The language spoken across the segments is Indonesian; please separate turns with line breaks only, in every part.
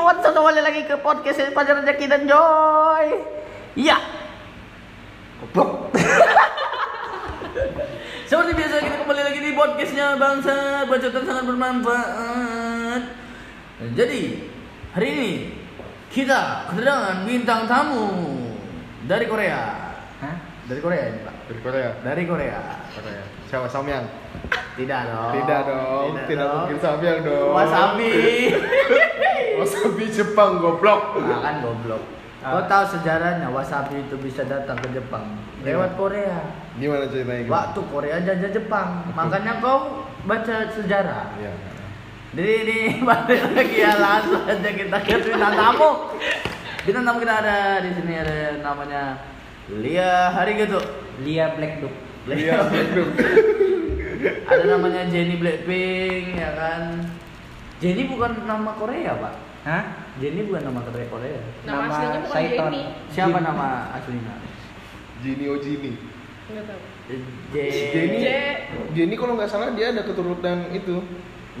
what's up Iya, kembali lagi ke podcast Pada Rezeki dan Joy Ya Goblok
Seperti biasa kita kembali lagi di podcastnya bangsa bacotan sangat bermanfaat. Jadi hari ini kita kedatangan bintang tamu dari Korea.
Hah? Dari Korea ini pak?
Dari Korea.
Dari Korea.
Korea. ya, Siapa Samyang?
Tidak dong.
Tidak dong. Oh, Tidak, mungkin Samyang dong.
Wasabi.
Wasabi Jepang goblok.
Nah, kan goblok. Kau
Ah.
tahu sejarahnya wasabi itu bisa datang ke Jepang
Iya.
lewat Korea.
Gimana ceritanya? gimana?
Waktu Korea jajah Jepang, makanya kau baca sejarah.
Iya.
Jadi ini balik lagi ya langsung aja kita ke bintang tamu. Bintang tamu kita ada di sini ada namanya Lia Hari gitu.
Lia Black Dog
Iya. betul.
Ada namanya Jenny Blackpink ya kan. Jenny bukan nama Korea pak.
Hah?
Jenny bukan nama Korea Korea.
Nama
Nama
aslinya bukan
Saiton.
Jenny.
Siapa nama aslinya?
Jini Ojini.
Enggak tahu.
J-
Jenny.
J.
Jini kalau nggak salah dia ada keturunan itu.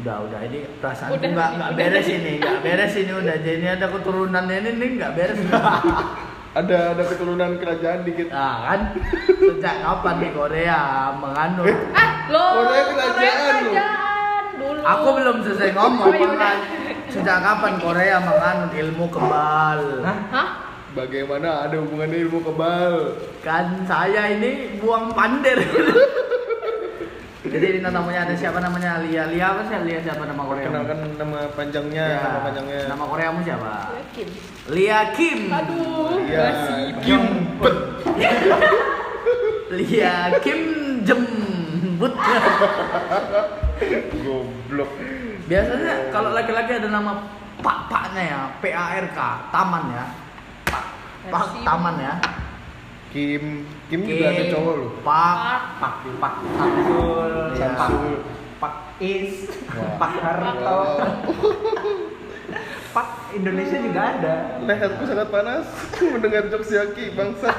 Udah udah ini perasaan
Udah,
nggak nggak
udah.
beres ini nggak beres ini udah Jenny ada keturunannya ini ini nggak beres.
Ada ada keturunan kerajaan dikit.
nah kan sejak kapan di Korea menganut
Ah, lo.
Korea kerajaan lo.
kerajaan dulu.
Aku belum selesai ngomong,
Oh, iya udah.
Bang. Sejak kapan Korea menganut ilmu kebal?
Hah?
Hah?
Bagaimana ada hubungannya ilmu kebal?
Kan saya ini buang pandir. Jadi ini namanya ada siapa namanya Lia Lia apa sih Lia siapa nama Korea?
Kenalkan nama panjangnya,
Ya,
Iya. nama panjangnya.
Nama Koreamu siapa?
Yakin.
Lia Kim.
Aduh,
Iya.
masih.
Kim Pet.
Lia Kim Jembut.
Goblok.
Biasanya kalau laki-laki ada nama pak-paknya ya, P A R K, taman ya. Pak, pak
Merci.
taman ya.
Kim Kim juga ada cowok loh.
Pak, pak, pak, Takul, ya. pak,
Samsul.
pak Is,
Wah.
pak Harto, pak Indonesia juga ada.
Leherku sangat panas mendengar jokes Yaki bangsa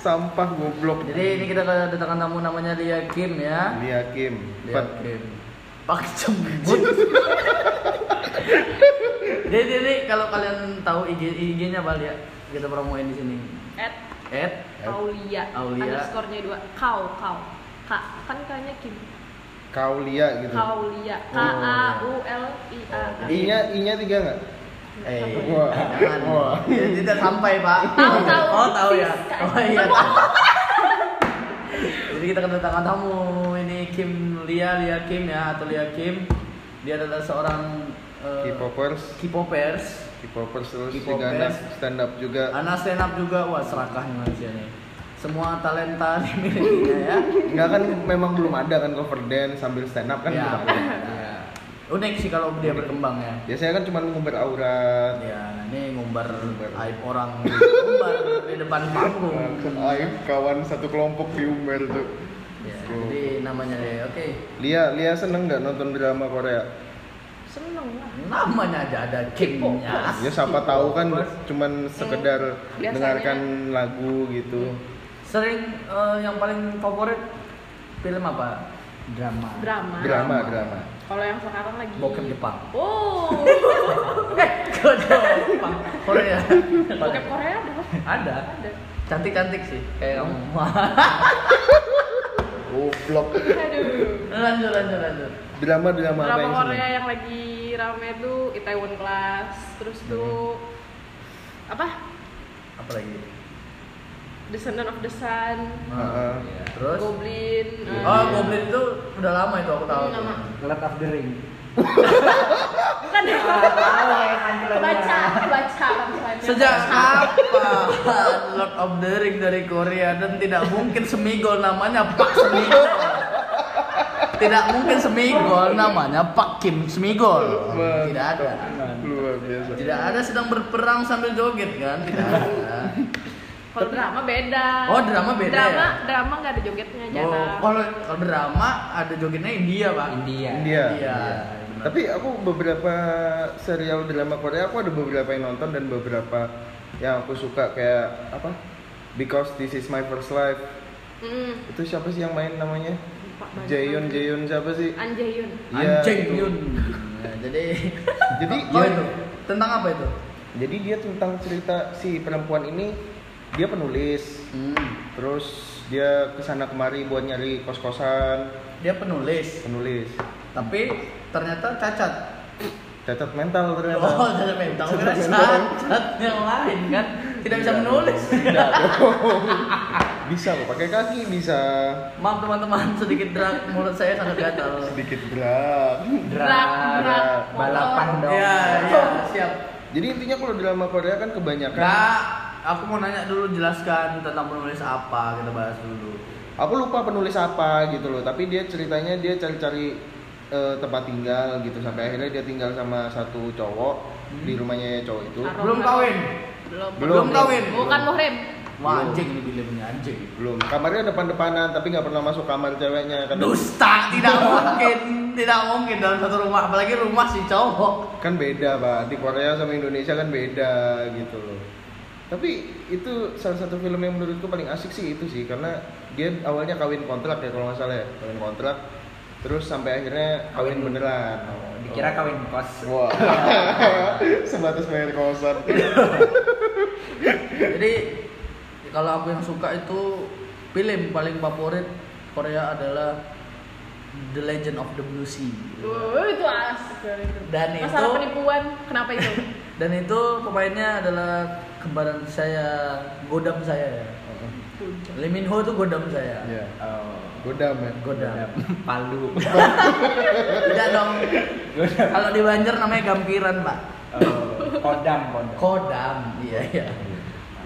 sampah goblok.
Jadi ini kita kedatangan tamu namanya Lia Kim ya.
Lia Kim.
Lia
Pat.
Kim. Pak Cembut. jadi, jadi kalau kalian tahu IG IG-nya Bal ya, kita promoin di sini.
At
At
Aulia.
Aulia.
Underscore-nya dua. Kau, kau. Kak, kan kayaknya Kim.
Kau Lia gitu.
Kaulia. K
Oh,
A
iya.
U L I A.
iya.
K.
I-nya I-nya tiga nggak?
Eh,
Wah.
jangan.
Wah.
Ya, tidak sampai, Pak.
Tahu, tahu. gitu.
Oh, tahu ya.
Bisa.
Oh iya. tahu. Jadi kita kedatangan tamu ini Kim Lia, Lia Kim ya atau Lia Kim. Dia adalah seorang eh,
K-popers,
K-popers.
K-popers terus
K-popers.
juga anak stand up juga.
Anak stand up juga wah serakah nih manusia nih. Semua talenta dimilikinya ya.
Enggak kan memang belum ada kan cover dance sambil stand up kan.
ya,
belum ada.
ya. Unik sih kalau dia berkembang ya.
Biasanya kan cuma ngumbar aurat.
Ya, ini ngumbar
Ngumbar.
aib orang ngumbar di depan panggung.
Aib kawan satu kelompok di Umber tuh.
Ya,
Gitu.
jadi namanya dia. Oke.
Lia, Lia seneng nggak nonton drama Korea?
Seneng lah.
Namanya aja ada Kimnya.
Ya siapa tahu kan cuman sekedar
biasanya.
dengarkan lagu gitu.
Sering eh, yang paling favorit film apa? Drama.
Drama.
Iya.
Drama, drama.
Kalau yang sekarang lagi.
Bokep Jepang.
Oh.
Eh, kok Jepang? Korea.
Bokep Korea ada.
ya? Ada.
Ada.
Cantik-cantik sih kayak kamu.
Goblok.
Aduh.
lanjut, lanjut, lanjut.
Drama-drama apa
drama
yang
Korea ya.
seneng?
yang lagi rame tuh Itaewon Class terus tuh apa
Apalagi?
Descendant of the Sun
Heeh.
Iya. Terus?
Goblin eh,
Oh, Goblin itu udah lama itu aku tahu.
Hmm, lama.
Lord of the Ring
bukan ya baca baca
Sejak kapan Lord of the Ring dari Korea dan tidak mungkin semigol namanya Pak Semigol. Tidak mungkin semigol namanya Pak Kim Semigol. Oh, Tidak ada.
Luar biasa.
Tidak ada sedang berperang sambil joget kan? Tidak ada.
kalau drama beda
Oh, drama beda
drama
ya?
drama nggak ada jogetnya
Iya,
Oh,
jarang
kalau kalau drama ada jogetnya India, Pak.
India
India.
India. benar.
Tapi aku beberapa serial drama Korea aku ada beberapa yang nonton dan beberapa yang aku suka kayak apa? Because this is my first life.
Mm,
Itu siapa sih yang main namanya?
lupa banyak.
Jaehyun, Jaehyun siapa sih?
An Jaehyun
Iya,
Anjing
itu.
Yun. Ya, jadi
Jadi
Oh,
ya,
itu. Tentang apa itu?
Jadi dia tentang cerita si perempuan ini dia penulis,
Hmm.
terus dia kesana kemari buat nyari kos kosan,
Dia penulis,
penulis,
tapi ternyata cacat.
cacat mental ternyata.
Oh, cacat mental. Kira cacat yang lain kan. Tidak bisa menulis.
Tidak dong. bisa loh, pakai kaki bisa.
Maaf teman-teman, sedikit drag mulut saya sangat gatal.
Sedikit gerak.
Drag, drag,
drag,
balapan
motor.
dong.
Iya, iya, siap.
Jadi intinya kalau drama Korea kan kebanyakan.
Kak, aku mau nanya dulu jelaskan tentang penulis apa kita bahas dulu.
Aku lupa penulis apa gitu loh, tapi dia ceritanya dia cari-cari eh, tempat tinggal gitu sampai akhirnya dia tinggal sama satu cowok di rumahnya cowok itu.
Aroma.
Belum kawin.
Belum.
Belum
kawin.
Bukan muhrim.
Wah, anjing ini gila punya anjing.
Belum. Kamarnya depan-depanan tapi nggak pernah masuk kamar ceweknya kan.
Dusta, tidak mungkin, tidak mungkin dalam satu rumah, apalagi rumah si cowok.
Kan beda, Pak. Di Korea sama Indonesia kan beda gitu loh. Tapi itu salah satu film yang menurutku paling asik sih itu sih karena dia awalnya kawin kontrak ya kalau nggak salah ya, kawin kontrak terus sampai akhirnya kawin beneran.
Oh,
Dikira kawin kos.
Wah. Sebatas bayar kosan.
Jadi kalau aku yang suka itu film paling favorit Korea adalah The Legend of the Blue Sea.
Wuh, itu asik dari itu.
Dan
Masalah
itu-
penipuan, kenapa itu?
Dan itu pemainnya adalah kembaran saya, godam saya ya. Lee Min Ho itu godam saya.
Iya.
Oh.
Godam ya.
Godam.
Palu.
Tidak dong. Kalau di Banjar namanya gampiran, Pak.
Oh, Kodam, kodam.
Kodam. Iya, iya.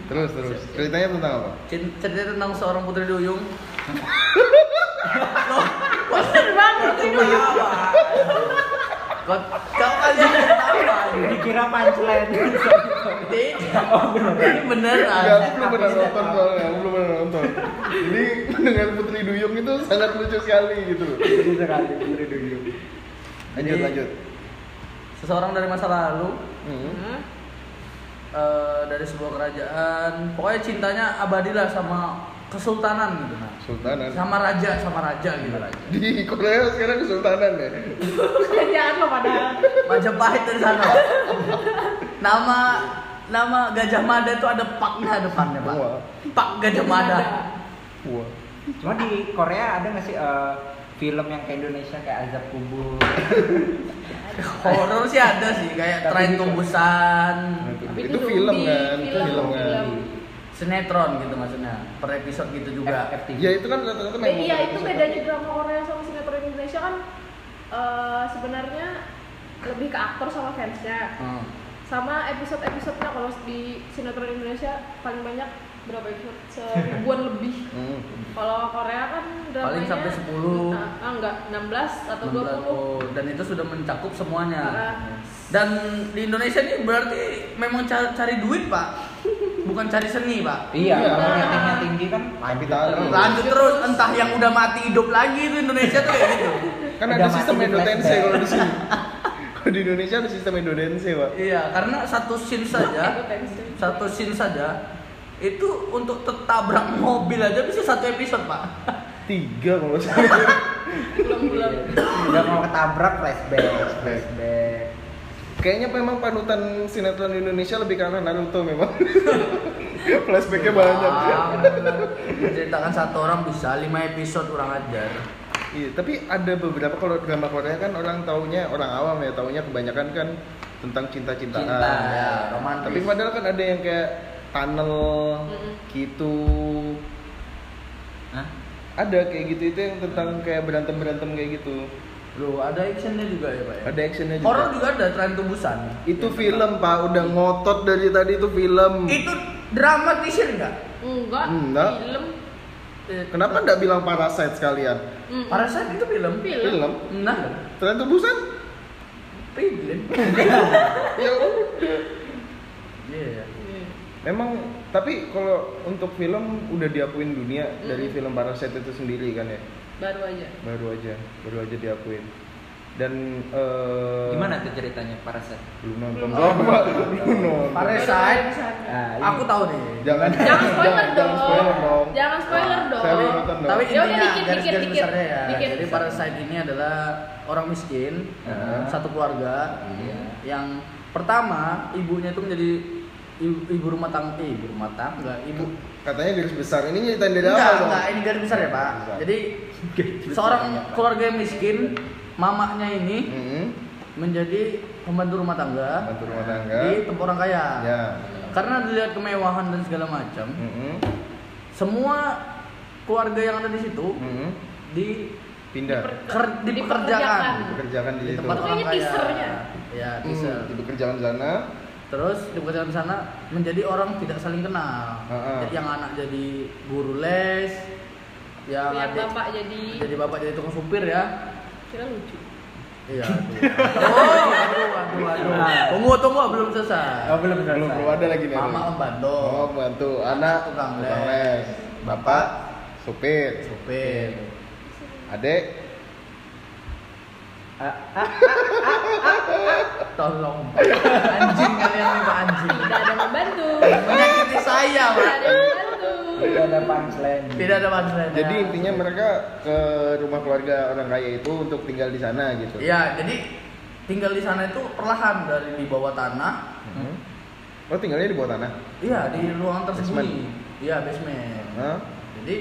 Terus terus. Ceritanya tentang apa?
Cin- Cerita tentang seorang putri duyung.
Bener banget
Itu
itu.
duyung, ya, Pak. Kau kau kan jadi apa?
Dikira punchline.
Tidak.
oh, benar.
Enggak,
Beneran.
aku belum pernah nonton soalnya, aku belum pernah nonton. Jadi dengan Putri Duyung itu sangat lucu sekali gitu.
Jadi sekali putri duyung.
Lanjut
Jadi-
lanjut.
Seseorang dari masa lalu
Hmm.
Hah?
eh, dari sebuah kerajaan, pokoknya cintanya abadilah sama kesultanan gitu. Nah.
Sultanan.
Sama raja, sama raja gitu.
Di Korea sekarang kesultanan ya.
Kerjaan lo padahal.
Majapahit dari sana. nama nama Gajah Mada itu ada paknya depannya pak.
Wah.
Pak Gajah Mada.
Wah.
Cuma di Korea ada nggak sih eh, film yang ke Indonesia kayak Azab Kubur?
Horor sih ada sih kayak
Tapi
Tren
gitu.
Tumbusan,
Tapi
Nah, itu film
zombie,
kan, itu
film,
film kan.
film.
sinetron gitu maksudnya per episode gitu juga.
FTV.
Ya itu kan
Eh,
rata-rata memang.
iya itu bedanya drama Korea sama sinetron Indonesia kan eh, sebenarnya lebih ke aktor sama fansnya
Hmm.
sama episode-episodenya kalau di sinetron Indonesia paling banyak berapa episode seribuan lebih
Hmm.
kalau Korea kan dramanya
Paling sampai 10.
ah, ah, enggak 16 atau
16.
20
Oh, dan itu sudah mencakup semuanya.
Ah,
Dan di Indonesia ini berarti memang cari, cari duit pak, bukan cari seni pak.
Iya,
Iya.
kalau
ah,
ratingnya tinggi kan
Kapitalis.
Lanjut terus entah yang udah mati hidup lagi itu Indonesia tuh kayak gitu.
Kan
Udah
ada
mati
sistem
di
Indotense
flashback.
kalau di sini. Kalau di Indonesia ada sistem Indotense, Pak.
Iya, karena satu scene saja,
ikut tension.
satu scene saja itu untuk tertabrak mobil aja bisa satu episode, Pak.
Tiga kalau saya.
belum belum
Iya.
Iya.
udah mau ketabrak flashback, flashback.
Kayaknya memang panutan sinetron Indonesia lebih karena Naruto memang. Flashbacknya banyak.
Ah, Menceritakan satu orang bisa lima episode kurang ajar.
Iya, tapi ada beberapa kalau drama Korea kan orang taunya orang awam ya, taunya kebanyakan kan tentang cinta-cintaan.
Cinta, ya, romantis.
Tapi padahal kan ada yang kayak tunnel
Mm-mm.
gitu.
Hah?
Ada kayak gitu itu yang tentang kayak berantem-berantem kayak gitu.
Bro, ada actionnya juga ya, Pak. ya?
Ada actionnya juga.
Horor juga ada tren tubusan.
Itu film, Pak. Udah ngotot dari tadi itu film.
Itu dramatisir enggak?
enggak
Enggak.
film
Kenapa nggak bilang Parasite sekalian?
Mm,
Para saya itu film.
film
Film.
Nah, Iya,
Tren tubusan?
film.
Ya udah.
Iya.
Mm.
Memang tapi kalau untuk film udah diakuin dunia dari
Mm.
film Parasite itu sendiri kan ya.
baru aja
baru aja baru aja diakuin dan eh,
Gimana tuh ceritanya Paraset?
belum nonton
Belum.
drama belum nonton
Parasite.
Ah, iya.
Aku tahu nih.
jangan
jangan spoiler dong
jangan spoiler dong
jangan spoiler dong
saya belum nonton dong
Tapi
Ya udah,
intinya
dikit,
garis
dikit,
garis
dikit.
besarnya ya.
Dikit.
Jadi parasite ini adalah orang miskin
Heeh. Iya.
satu keluarga yang pertama ibunya itu menjadi ibu, ibu rumah tangga eh, ibu rumah tangga ibu
Katanya garis besar. Ini nyeritain dari
enggak
awal dong.
enggak ini garis besar ya pak
Besar.
jadi seorang
ya,
keluarga yang miskin mamanya ini
Mm-mm.
menjadi pembantu rumah tangga
Pembantu rumah tangga.
di tempat orang kaya
Ya. Mm-hmm.
karena dilihat kemewahan dan segala macam
Mm-mm.
semua keluarga yang ada di situ
Mm-mm.
di
Mm-hmm. Pindah.
ker-
Dipekerjakan.
dipekerjakan
Dikerjakan di
di
situ.
tempat orang
Kayaknya
kaya
teasernya.
ya teaser
Hmm, di pekerjaan sana.
terus di pekerjaan di sana menjadi orang tidak saling kenal
Ha-ha.
jadi yang anak jadi guru les yang
Lihat
adik
bapak jadi
jadi bapak jadi tukang supir ya
kira lucu.
iya aduh. oh aduh aduh aduh
Nah.
tunggu tunggu belum
Oh,
selesai
belum belum ada lagi nih.
mama
aduh.
membantu
Oh, bantu anak
Tukang
tukang
les.
les. Bapak supir.
supir
Adek
tolong anjing kalian memang anjing
Tidak ada yang membantu.
menyakiti saya
Tidak
pak
ada yang membantu.
Tidak ada punchline.
tidak ada masalah
Jadi intinya mereka ke rumah keluarga orang kaya itu untuk tinggal di sana gitu.
Iya.
ya jadi tinggal di sana itu perlahan dari di bawah tanah
Hmm. Oh tinggalnya di bawah tanah?
Iya di ruang tersembunyi. Iya basement.
Hah?
Jadi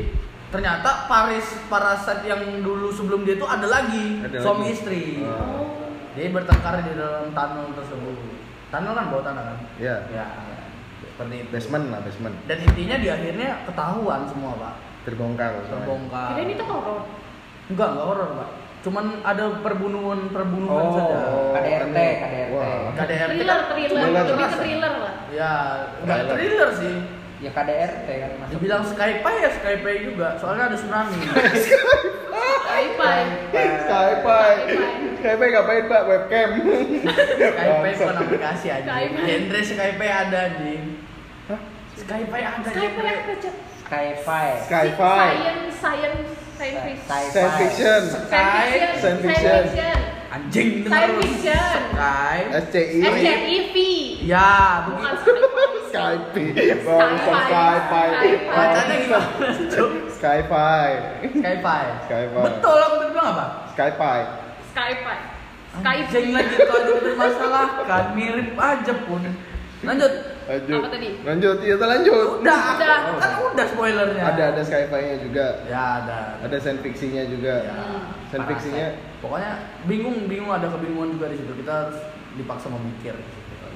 ternyata Paris Parasat yang dulu sebelum dia itu ada lagi Ah.
Ada
suami
lagi.
istri.
Iya.
Oh,
Dia bertengkar di dalam tunnel tersebut. Tunnel kan bawah tanah kan?
ya
Ya. Seperti itu.
basement lah basement
Dan intinya di akhirnya ketahuan semua pak.
terbongkar.
Terbongkar.
Kira ini tuh horor.
Enggak enggak horor pak. Cuman ada perbunuhan perbunuhan
Oh.
saja.
ya?
KDRT,
aneh.
KDRT.
Wah.
KDRT
Thriller,
kan?
thriller,
Thriller.
lebih ke thriller lah.
Ya, enggak
Thriller.
thriller sih.
Ya KDRT kan masuk.
Dibilang Skype ya Skype juga, soalnya ada tsunami.
Sci-fi.
Skype, Skype ngapain pak webcam?
Skype bukan
Bangsat.
aplikasi aja.
Skype.
Genre Skype ada anjing.
Hah?
Skype ada
Sci-fi
genre.
apa Cep?
Skyfi.
Sci-fi,
Science, science, science fiction.
Sci-
science fiction,
Science fiction.
Science fiction.
Science fiction.
Anjing dengar
Science
lu.
fiction.
Skype.
SCI,
SCIV.
Ya, begitu.
Bukan sci-fi.
Skype, bangsa Skype,
Bacanya gimana? Cuk?
Skype,
Skype.
Skype.
Betul aku tadi bilang apa?
Skype.
Sci-fi.
Anjing
Sci-fi.
lagi kau itu dipermasalahkan, mirip aja pun. Lanjut.
Lanjut.
Apa tadi?
Lanjut, iya tuh lanjut.
Udah,
Udah.
kan udah spoilernya.
Ada ada sci-fi-nya juga,
Ya, ada.
ada science fiction-nya juga.
Ya,
Science fiction-nya.
parasite. Pokoknya bingung, bingung ada kebingungan juga di situ. Kita harus dipaksa memikir.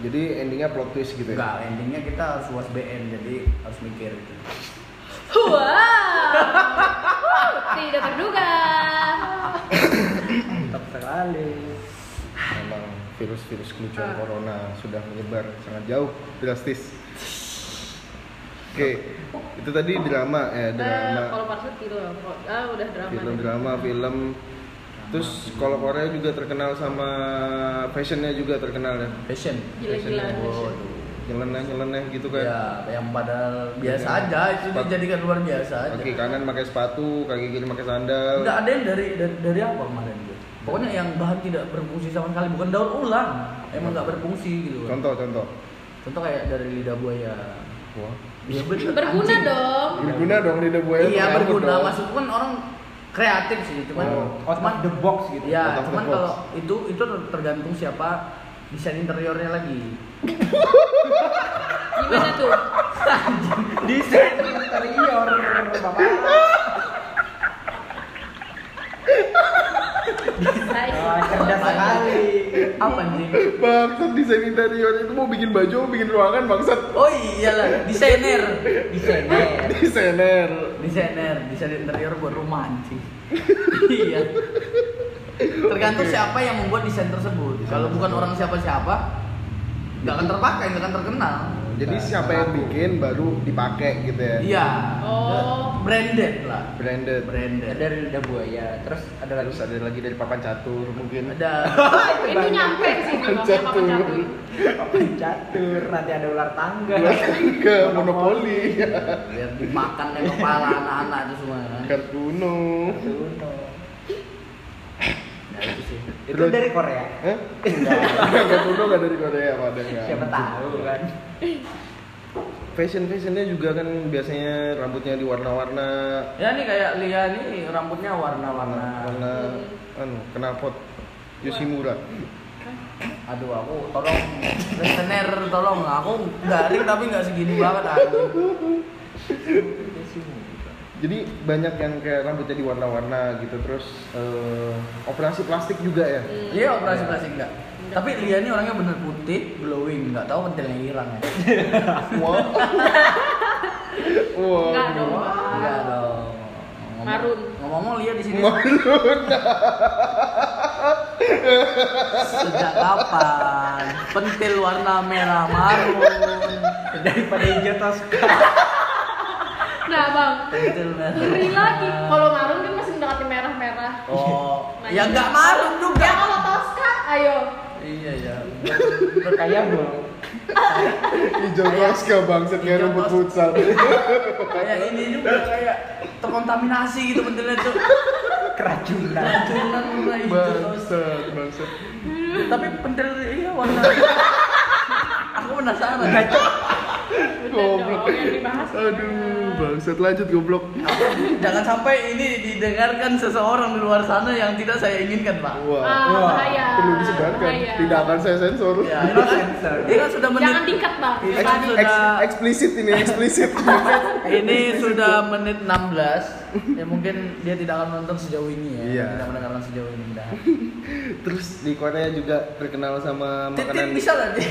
Jadi endingnya plot twist gitu ya.
Enggak, endingnya kita harus was BN, jadi harus mikir gitu.
Wow. Tidak terduga.
Mantap sekali.
Memang virus-virus kelucuan
Ah.
corona sudah menyebar sangat jauh, drastis. Oke, itu tadi drama eh
Eh,
drama,
Kalau Parsut gitu loh. Kalau- Ah, udah drama.
film
deh.
drama, film. Terus kalau Korea juga terkenal sama fashionnya juga terkenal ya.
Fashion.
Gila-gilaan
Waduh.
Nyeleneh-nyeleneh gitu kan.
Ya, yang padahal biasa
Iya.
aja itu
Sepatu.
dijadikan luar biasa aja.
Kaki kanan pakai sepatu, kaki kiri pakai sandal.
Enggak ada yang dari dari, dari apa kemarin gitu. Pokoknya yang bahan tidak berfungsi sama sekali, bukan daur ulang. Emang nggak berfungsi gitu. Contoh,
Contoh, contoh.
kayak dari lidah buaya.
Wah.
Ya, bener,
Berguna
anjing.
dong.
Berguna dong lidah buaya.
Iya,
terangkut
berguna.
dong.
Maksudku kan orang kreatif sih, cuman
Oh.
Out of the box gitu.
Out
Ya,
of the
cuman
box.
kalau itu itu tergantung siapa desain interiornya lagi.
Gimana tuh?
Desain interior Bapak. Wah,
Sci-fi.
cerdas sekali.
Apa anjing?
Bangsat desain interior itu mau bikin baju, mau bikin ruangan bangsat.
Oh iyalah, desainer.
Desainer.
Desainer.
Desainer, desain interior buat rumah anjing. iya. Tergantung
Oke. Iya.
siapa yang membuat desain tersebut. Kalau bukan orang siapa-siapa, nggak akan terpakai, nggak akan terkenal.
Jadi
Nah,
siapa yang bikin baru dipakai gitu ya.
Iya.
Oh.
Branded lah.
Branded.
Ada
Branded.
dari lidah buaya. Terus ada lagi.
Terus ada lagi dari papan catur mungkin.
Ada.
Itu nyampe sih ngomongnya
Catur.
papan catur.
Papan catur. Nanti ada ular tangga.
kan Ke monopoli,
Biar dimakan deh kepala anak-anak itu semua. Nah,
kartuno.
Uno.
Ya, itu sih.
Itu
Terus-
dari Korea.
Hah? Kartuno nggak dari Korea pada nggak.
Siapa tahu kan.
Fashion fashionnya juga kan biasanya rambutnya diwarna-warna.
Ya nih kayak Lia nih rambutnya warna-warna.
Iya.
Warna, anu, kenapot Yoshimura.
Aduh aku tolong listener tolong aku garing tapi nggak segini banget anjing.
Jadi banyak yang kayak rambutnya diwarna-warna gitu terus eh, operasi plastik juga ya.
Hmm.
Iya operasi plastik enggak. Tapi Lia ini orangnya bener putih, glowing, nggak tahu pentilnya hilang ya.
Wow. wow.
Enggak dong.
Oh, Enggak dong. Ngomong-
Marun.
Ngomong-ngomong Lia di sini
Marun.
sejak kapan? Pentil warna merah marun.
daripada hijau Tosca
Nah bang,
Pentil merah.
ngeri lagi. Kalau marun kan masih mendekati merah-merah.
Oh,
Nah,
ya
iya.
nggak marun juga.
Ya kalau Tosca, ayo.
Iya ya.
kayak bro
Hijau Tosca bangset kayak
Hijau
rumput
Tosca.
futsal.
Kayak ini juga kayak terkontaminasi gitu pentilnya tuh.
keracunan
Keracunan warna hijau.
Bangset, bangset.
Tapi pentil iya warna. Aku penasaran.
Goblok. kan Yang dibahas.
Aduh, bangset lanjut goblok.
Jangan sampai ini didengarkan seseorang di luar sana yang tidak saya inginkan, Pak.
Wah.
Ah,
Wah,
bahaya.
Perlu disebarkan.
bahaya. Iya.
Tidak akan saya sensor.
Ya, ini kan,
Sensor.
ini kan sudah menit
Jangan tingkat bang.
Iya,
yang
Eks-
tadi.
sudah-
eks- eksplisit ini eksplisit.
ini sudah menit 16. Ya mungkin dia tidak akan menonton sejauh ini ya.
Iya.
Tidak mendengarkan sejauh ini. Dah.
Terus di Korea juga terkenal sama
Titit
makanan
bisa lah di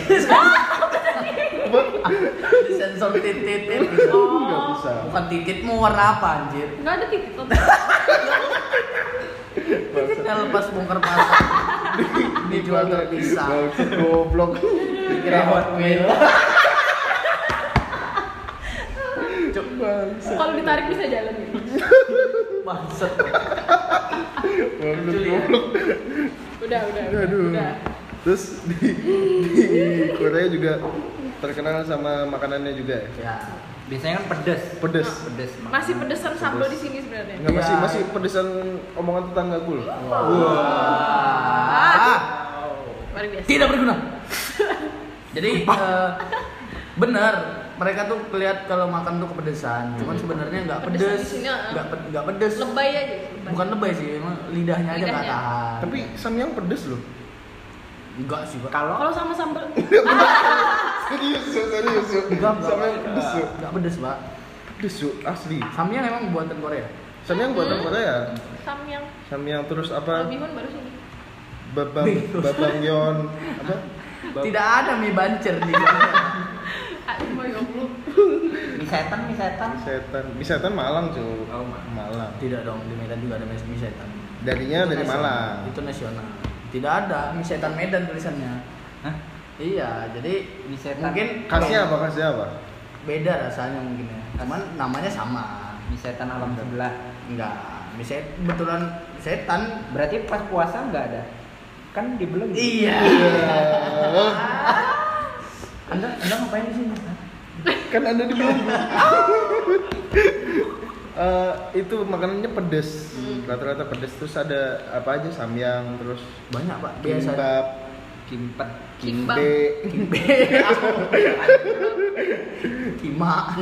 sensor titit. titit.
Nggak bisa.
Bukan tititmu warna apa anjir?
Enggak Oh. ada titik. Bang.
Kita lepas bongkar pasar. Dijual terpisah.
Bangset, Goblok.
Dikira Hot Wheels.
Bangset.
Kalau ditarik bisa jalan. ya?
Bangsat.
Bangset,
Lucu ya.
goblok.
Udah, udah, udah.
Aduh.
udah.
Terus di, di Korea juga terkenal sama makanannya juga ya.
Ya.
biasanya kan pedes
Pedes.
pedes Mak.
Masih pedesan sablo di sini sebenarnya.
Enggak masih
Iya.
masih pedesan omongan tetangga gue loh.
Ah.
Luar biasa.
tidak berguna. Jadi eh, benar mereka tuh kelihat kalau makan tuh kepedesan, cuman sebenarnya nggak
Pedesan di
pedes,
sini, ah.
nggak pe- nggak pedes,
Lebay aja. lebay.
bukan lebay sih, emang lidahnya aja nggak
Lidahnya.
tahan.
Tapi Samyang pedes loh.
enggak sih, Pak.
kalau
Kalau sama sambal.
Serius, Su, serius. Su.
Enggak, enggak.
Samyang pedes, ya? Su.
Enggak pedes, Pak.
pedes, Su, asli.
Samnya memang buatan Korea.
Samyang buatan
Iya.
Hmm.
Korea.
Samyang.
Samyang ya? terus apa?
Bihun baru sini.
Babang babangyeon apa? Bab-
Iya. Tidak ada mie bancer di sini.
Aduh, ya mau goblok.
mie setan mie setan
setan. Bisetan Malang, Su.
Oh, Malang.
Malang.
Tidak dong, di Medan juga ada mie setan. Itu
Darinya dari
nasional.
Malang.
Itu nasional. Tidak ada mie setan Medan tulisannya.
Hah?
Iya, jadi
Mie setan.
mungkin
Khasnya apa? Khasnya apa?
beda rasanya mungkin ya cuman namanya sama
mie setan alam sebelah
enggak mie set betulan setan
berarti pas puasa nggak ada kan dibelum
iya
Eh,
anda anda ngapain di sini
kan Anda di belum. Eh, itu makanannya pedes. Rata-rata pedes terus ada apa aja samyang terus
banyak pak biasa
kimbab,
kimpet
Kimbab.
kimbe,
kimbe kima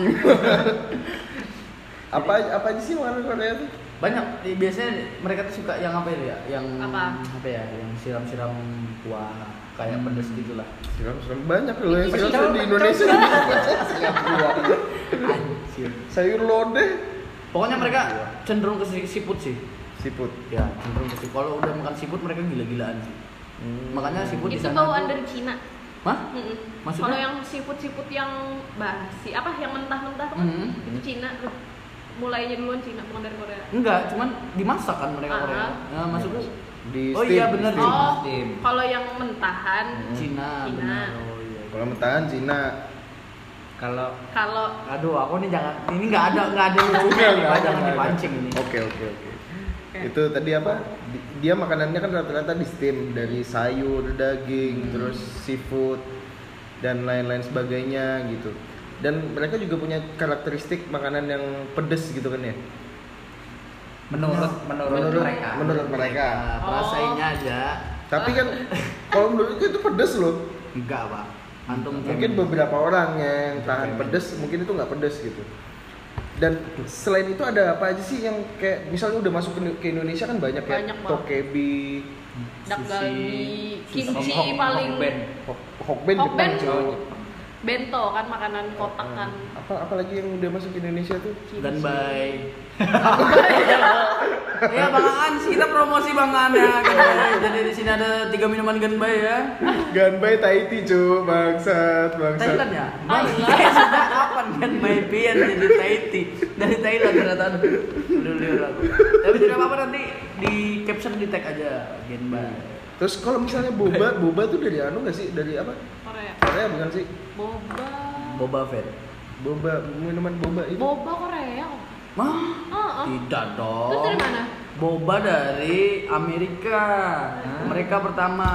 apa apa aja sih makanan Korea tuh?
banyak eh, biasanya mereka tuh suka yang apa ya yang
Apa?
ya yang siram-siram kuah kayak
Hmm.
pedes gitulah
Siram siram banyak loh yang
Itu
siram
siram
di Indonesia.
Anjir.
Sayur lodeh,
pokoknya mereka cenderung ke siput sih
siput.
ya cenderung ke siput kalau udah makan siput mereka gila-gilaan sih
Hmm.
makanya siput Oh, di
Itu
sana
bawaan
tuh-
dari Cina.
Hah?
Mm-mm.
Maksudnya?
Kalau yang seafood-seafood yang basi apa yang mentah-mentah tuh kan
Mm-mm.
itu Cina tuh. Mulainya duluan Cina bukan dari Korea.
Enggak, cuman dimasak kan mereka
Ah.
Korea. Nah, maksudku
Hmm. Di
Oh
steam.
iya, bener.
Steam.
Oh,
Steam.
kalau yang mentahan
Cina,
Cina.
benar. Oh, iya.
Kalau mentahan Cina.
kalau
kalau
iya. Aduh, aku nih jangan ini enggak ada enggak ada lucunya nih, Pak. jangan dipancing ini.
Oke oke oke. Itu tadi apa? Di- Dia makanannya kan rata-rata di steam dari sayur, daging, terus seafood dan lain-lain sebagainya gitu. Dan mereka juga punya karakteristik makanan yang pedes gitu kan ya.
menurut menurut,
Menurut-
mereka
menurut mereka.
Nah,
Oh.
perasainnya aja
Tapi kan kalau menurutku itu pedes loh.
enggak, Pak. Antum
Mungkin
femin.
beberapa orang yang tahan pedes, mungkin itu nggak pedes gitu. Dan selain itu ada apa aja sih yang kayak misalnya udah masuk ke, ke Indonesia kan banyak,
Banyak
ya
banget.
tokebi,
Dakgalbi,
sushi,
kimchi
hok- hok-
paling
hokben.
Hok- hokben
Hokben.
Jepang tuh.
bento kan makanan kotak kan.
Apa apalagi yang udah masuk ke Indonesia tuh?
Dan bye. ya Bang Aan, kita promosi Bang Aan ya. guys. Jadi di sini ada tiga minuman Ganbai ya.
Ganbai Tahiti cu, bangsat, bangsat.
Thailand ya? Bang, sejak kapan Ganbai Bian jadi Tahiti? Dari Thailand ternyata. Aduh, liur aku. Tapi tidak apa-apa nanti di caption di tag aja Ganbai.
Terus kalau misalnya boba, boba tuh dari anu nggak sih? Dari apa?
Korea.
Korea bukan sih?
Boba.
Boba Fett.
Boba, minuman boba itu.
Boba Korea.
Mah?
Heeh.
Tidak dong.
Oh. Terus dari mana?
Boba dari Amerika. Mereka pertama.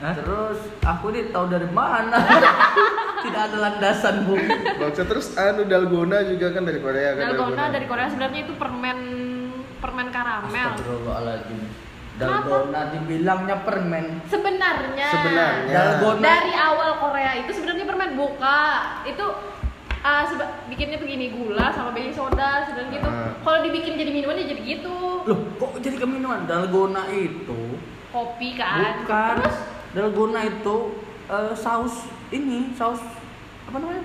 Hah?
Terus aku nih tahu dari mana? Tidak ada landasan bu.
Bangsat terus anu dalgona juga kan dari Korea kan.
Dalgona dari Korea sebenarnya itu permen permen karamel.
Astagfirullahaladzim.
Kenapa?
Dalgona dibilangnya permen.
Sebenarnya.
Sebenarnya.
Dalgona.
Dari awal Korea itu sebenarnya permen buka itu ah, seba- bikinnya begini gula sama baking soda sebenarnya gitu.
Ah.
Kalau dibikin jadi minuman ya jadi gitu.
Loh, kok jadi ke minuman? Dalgona itu
Kopi kan.
bukan.
Terus
Dalgona itu eh, saus ini, saus apa namanya?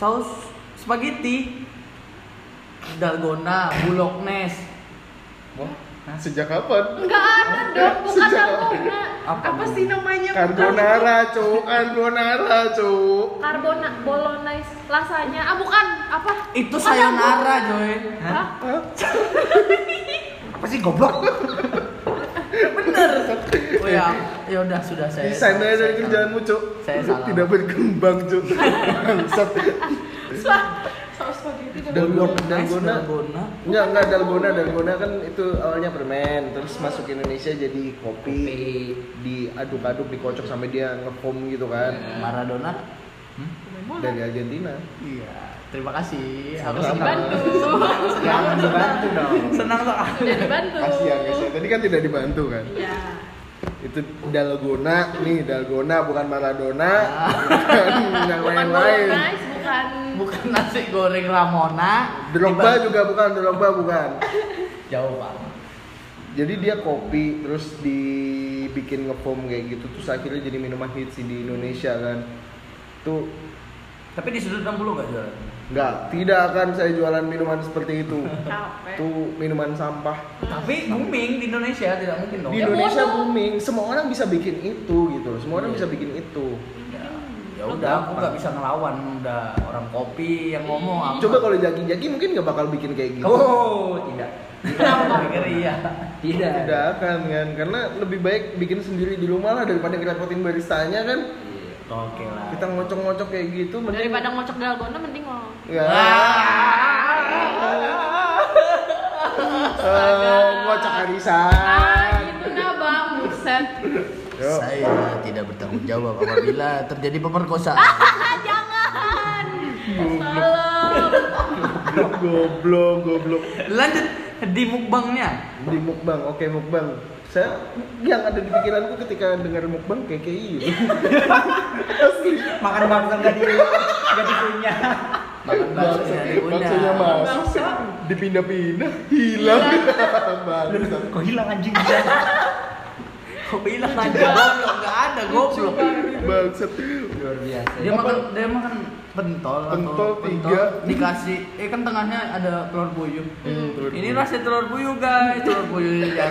Saus spaghetti. Dalgona, bulognes.
Wah, sejak kapan?
enggak ada dong, bukan
Sejak-
dalgona.
Apa?
Apa, sih namanya?
Carbonara cu, carbonara cu.
Carbona, bolognese, lasanya. Ah bukan, apa?
Itu
Bukan
sayonara, Joy.
dalgona. Hah?
Apa sih goblok?
Bener. Oh ya, ya udah sudah saya.
Desain aja dari
saya-
kerjaanmu cu.
Saya salah.
Tidak berkembang cu. Bangsat.
Spa-
saus spaghetti dan
Dalgona,
Bulognes,
dalgona.
dalgona.
Enggak, enggak dalgona, dalgona kan itu awalnya permen, terus masuk ke Indonesia jadi kopi, diaduk-aduk, dikocok sampai dia ngefoam gitu kan.
Maradona.
Dari Argentina.
Iya. Terima kasih. Aku
Sama-sama.
senang.
Jangan dibantu dong.
Senang soalnya.
Udah dibantu.
Kasihan, kasihan. Tadi kan tidak dibantu kan.
Iya.
Itu dalgona, nih dalgona bukan Maradona, bukan yang
Bukan
lain-lain.
bolognese, bukan
Bukan nasi goreng Ramona.
Drogba
Dibantu-
juga bukan, Drogba bukan.
Jauh banget.
Jadi dia kopi terus dibikin ngefoam kayak gitu terus akhirnya jadi minuman hits di Indonesia kan. Tuh
Tapi di sudut 60 nggak jualan?
Enggak, tidak akan saya jualan minuman seperti itu.
capek.
Itu minuman sampah.
Tapi booming di Indonesia tidak mungkin dong.
Di
Ya,
Indonesia
bodoh.
booming, semua orang bisa bikin itu gitu loh. Semua orang
Iya.
bisa bikin itu.
Ya udah, aku nggak bisa ngelawan udah orang kopi yang ngomong. Aku.
Coba kalau jaki-jaki mungkin nggak bakal bikin kayak gitu.
Oh, tidak.
Kenapa? Pikir iya.
Tidak.
Tidak akan kan, karena lebih baik bikin sendiri di rumah lah daripada ngerepotin baristanya kan.
Gitu. Oke lah.
Kita ngocok-ngocok kayak gitu. mending-
Daripada ngocok dalgona mending ngomong.
Ya.
Ah.
Astaga.
Eh, ngocok
Ah,
arisan.
gitu nah bang, buset.
Yuk.
Saya tidak bertanggung jawab apabila terjadi pemerkosaan.
Ah, jangan. Salam.
goblok, goblok.
Lanjut di mukbangnya.
di mukbang oke mukbang saya yang ada di pikiranku ketika dengar mukbang KKI gitu asli
Makan bakso enggak di enggak dikunyah.
Makan baksonya diunyah.
baksonya mas
Bakso.
dipindah-pindah hilang Bangsat.
Kok hilang anjing dia?
Kok bilang aja goblok, nggak ada goblok.
bangsat
Luar biasa.
Dia makan dia makan pentol atau
Pentol tiga.
dikasih eh kan tengahnya ada telur buyuh.
Hmm, telur
ini
buyuh.
rasanya telur buyuh guys, telur buyuh ya.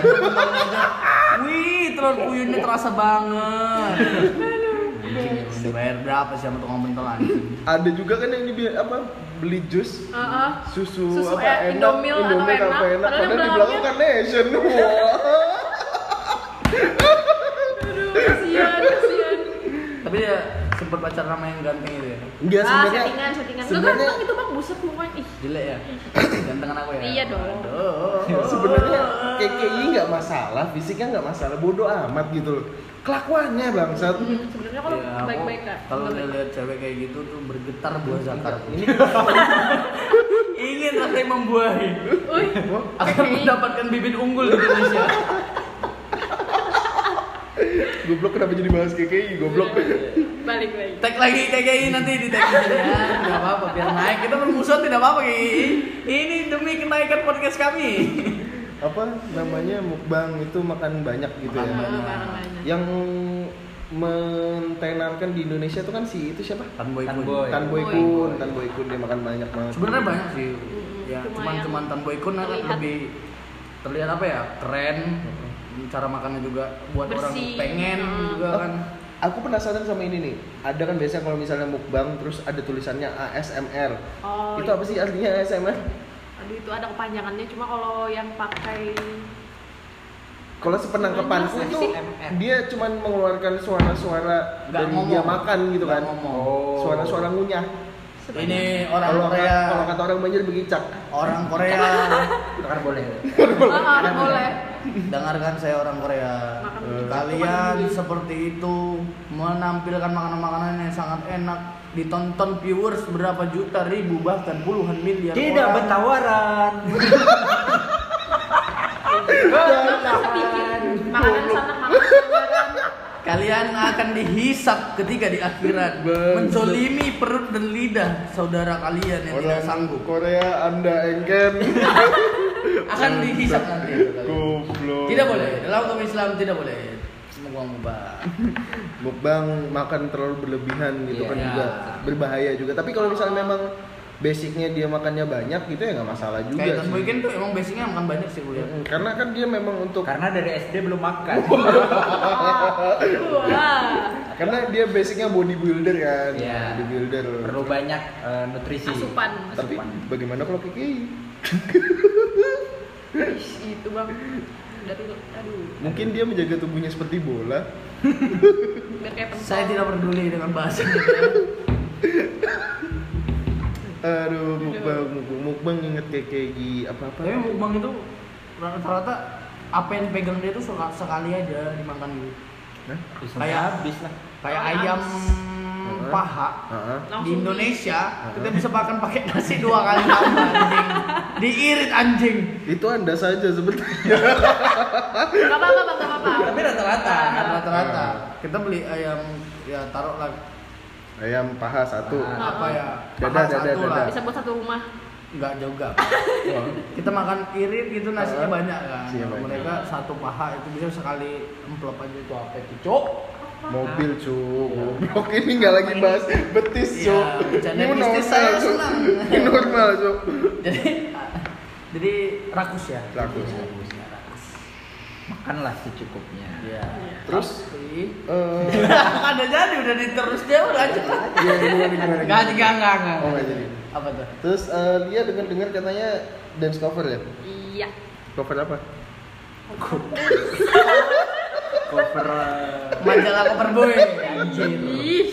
Wih, telur buyuh ini terasa banget. Anjing, emang Dibayar berapa sih sama tukang pentol anjing?
ada juga kan yang dibi apa beli jus
Heeh.
susu,
Susu
apa
eh, Indomil atau enak,
padahal
padahal
di
yang
belakang
belakangnya-
kan nation Wah.
Aduh, kasihan, kasihan.
Tapi dia sempat pacar sama yang ganteng itu ya.
Enggak
ah,
sebenarnya
settingan, settingan. Lu
sebenarnya-
ganteng itu bang, buset lu bang. Ih,
Jelek ya? Gantengan aku ya?
Iya dong. kan-
Aduh.
sebenarnya KKI nggak masalah fisiknya nggak masalah bodoh amat gitu loh kelakuannya bangsat
sebenarnya kalau
Ya, aku
baik-baik kan.
Kalau dia lihat cewek kayak gitu tuh bergetar buah zakar.
ini
Ingin rasanya membuahi.
Uy,
Akan mendapatkan bibit unggul di Indonesia.
Goblok kenapa jadi bahas KKI goblok.
balik lagi
Tag lagi KKI nanti di tag ya. Enggak apa-apa biar naik. Kita bermusuhan tidak apa-apa KKI. Ini demi kenaikan podcast kami.
Apa namanya mukbang itu makan banyak gitu
Makan
ya.
banyak.
Yang mentenarkan di Indonesia tuh kan si itu siapa?
Tan Boy
Tan
Kun.
Boy.
Tan Boy Kun, Tan Boy Kun dia makan banyak banget.
Sebenarnya banyak sih. Ya,
Cuma
cuman
yang
cuman Tan Boy Kun agak
Hmm,
nah,
terlihat. Hmm.
lebih terlihat apa ya? Keren. Cara makannya juga buat orang
Bersih.
pengen
Hmm.
juga kan.
Aku penasaran sama ini nih. Ada kan biasanya kalau misalnya mukbang terus ada tulisannya ASMR.
oh
iya.
itu apa sih artinya ASMR?
aduh itu ada kepanjangannya cuma kalau yang pakai
Kalau sepenangkepanku
Apa
itu
sih?
dia cuman mengeluarkan suara-suara
Nggak
dari
ngomong.
dia makan gitu
Nggak
kan.
ngomong.
Suara-suara ngunyah.
seperti-
Ini orang
Kalau
Korea.
kalau kata orang Banjar begicak.
Orang Korea.
Tukar boleh.
Ah, ah, boleh
Dengarkan kan saya orang Korea.
Makan
Eh,
begitu, makan
Kalian
begitu.
seperti itu menampilkan makanan-makanan yang sangat enak ditonton viewers berapa juta ribu bahkan puluhan miliar
Tidak
orang.
bertawaran.
Makanan, makanan sana makanan sana.
Kalian akan dihisap ketika di akhirat
Bener.
Menzolimi perut dan lidah saudara kalian yang tidak sanggup
Korea Anda engken.
Akan dihisap nanti itu kalian.
Goblok.
Tidak boleh, dalam hukum Islam tidak boleh Menguang mubah
Mukbang makan terlalu berlebihan gitu
Iya.
kan juga berbahaya juga. Tapi kalau misalnya memang basicnya dia makannya banyak gitu ya nggak masalah juga
Kayak Tan
sih.
Boy Ken tuh emang basicnya makan banyak sih ya. kuliah
Mm, Karena kan dia memang untuk
Karena dari SD belum makan.
Wah.
karena dia basicnya bodybuilder kan.
Iya.
Bodybuilder.
Perlu banyak eh, nutrisi.
asupan
Tapi bagaimana kalau KKI?
itu bang dari aduh
Mungkin dia menjaga tubuhnya seperti bola.
biar kayak pentol.
Saya tidak peduli dengan bahasa
Aduh, mukbang, mukbang, mukbang inget KKI apa-apa.
Tapi mukbang itu rata-rata apa yang pegang dia tuh suka sekali aja dimakan gitu.
Hah?
Kayak
habis lah.
Kayak
Habis.
ayam paha
Ah, ah.
Langsung
di Indonesia
di-
kita bisa makan pakai nasi dua kali tambah anjing. Diirit anjing.
Itu Anda saja sebetulnya.
Gak apa-apa, Bang, gak apa-apa.
Tapi rata-rata, rata-rata kita beli ayam ya taruhlah
Ayam paha satu.
Paha.
apa ya?
Dada,
paha
dada,
satu lah.
dada.
Bisa buat satu rumah.
Enggak juga.
Oh.
Kita makan irit gitu nasinya
Ah.
banyak kan.
Iya,
Kalau
banyak.
mereka satu paha itu bisa sekali emplop aja itu apa itu, Cok?
Mobil cu, goblok ini nggak lagi bahas betis cu.
Iya, bercanda
Ini
bisnis saya
normal, Cu.
senang.
Ini normal cu.
jadi jadi rakus ya
Rakus.
Makanlah secukupnya.
Iya.
Terus?
Tapi-
Eh,
ada jadi udah diterus dia udah cepat
iya gimana gimana?
nggak
gimana?
nggak nggak nggak
Oh nggak jadi.
apa tuh
Terus eh, dia dengar dengar katanya dance cover ya?
Iya.
Cover apa?
Cover eh,
majalah cover boy anjir
Ih,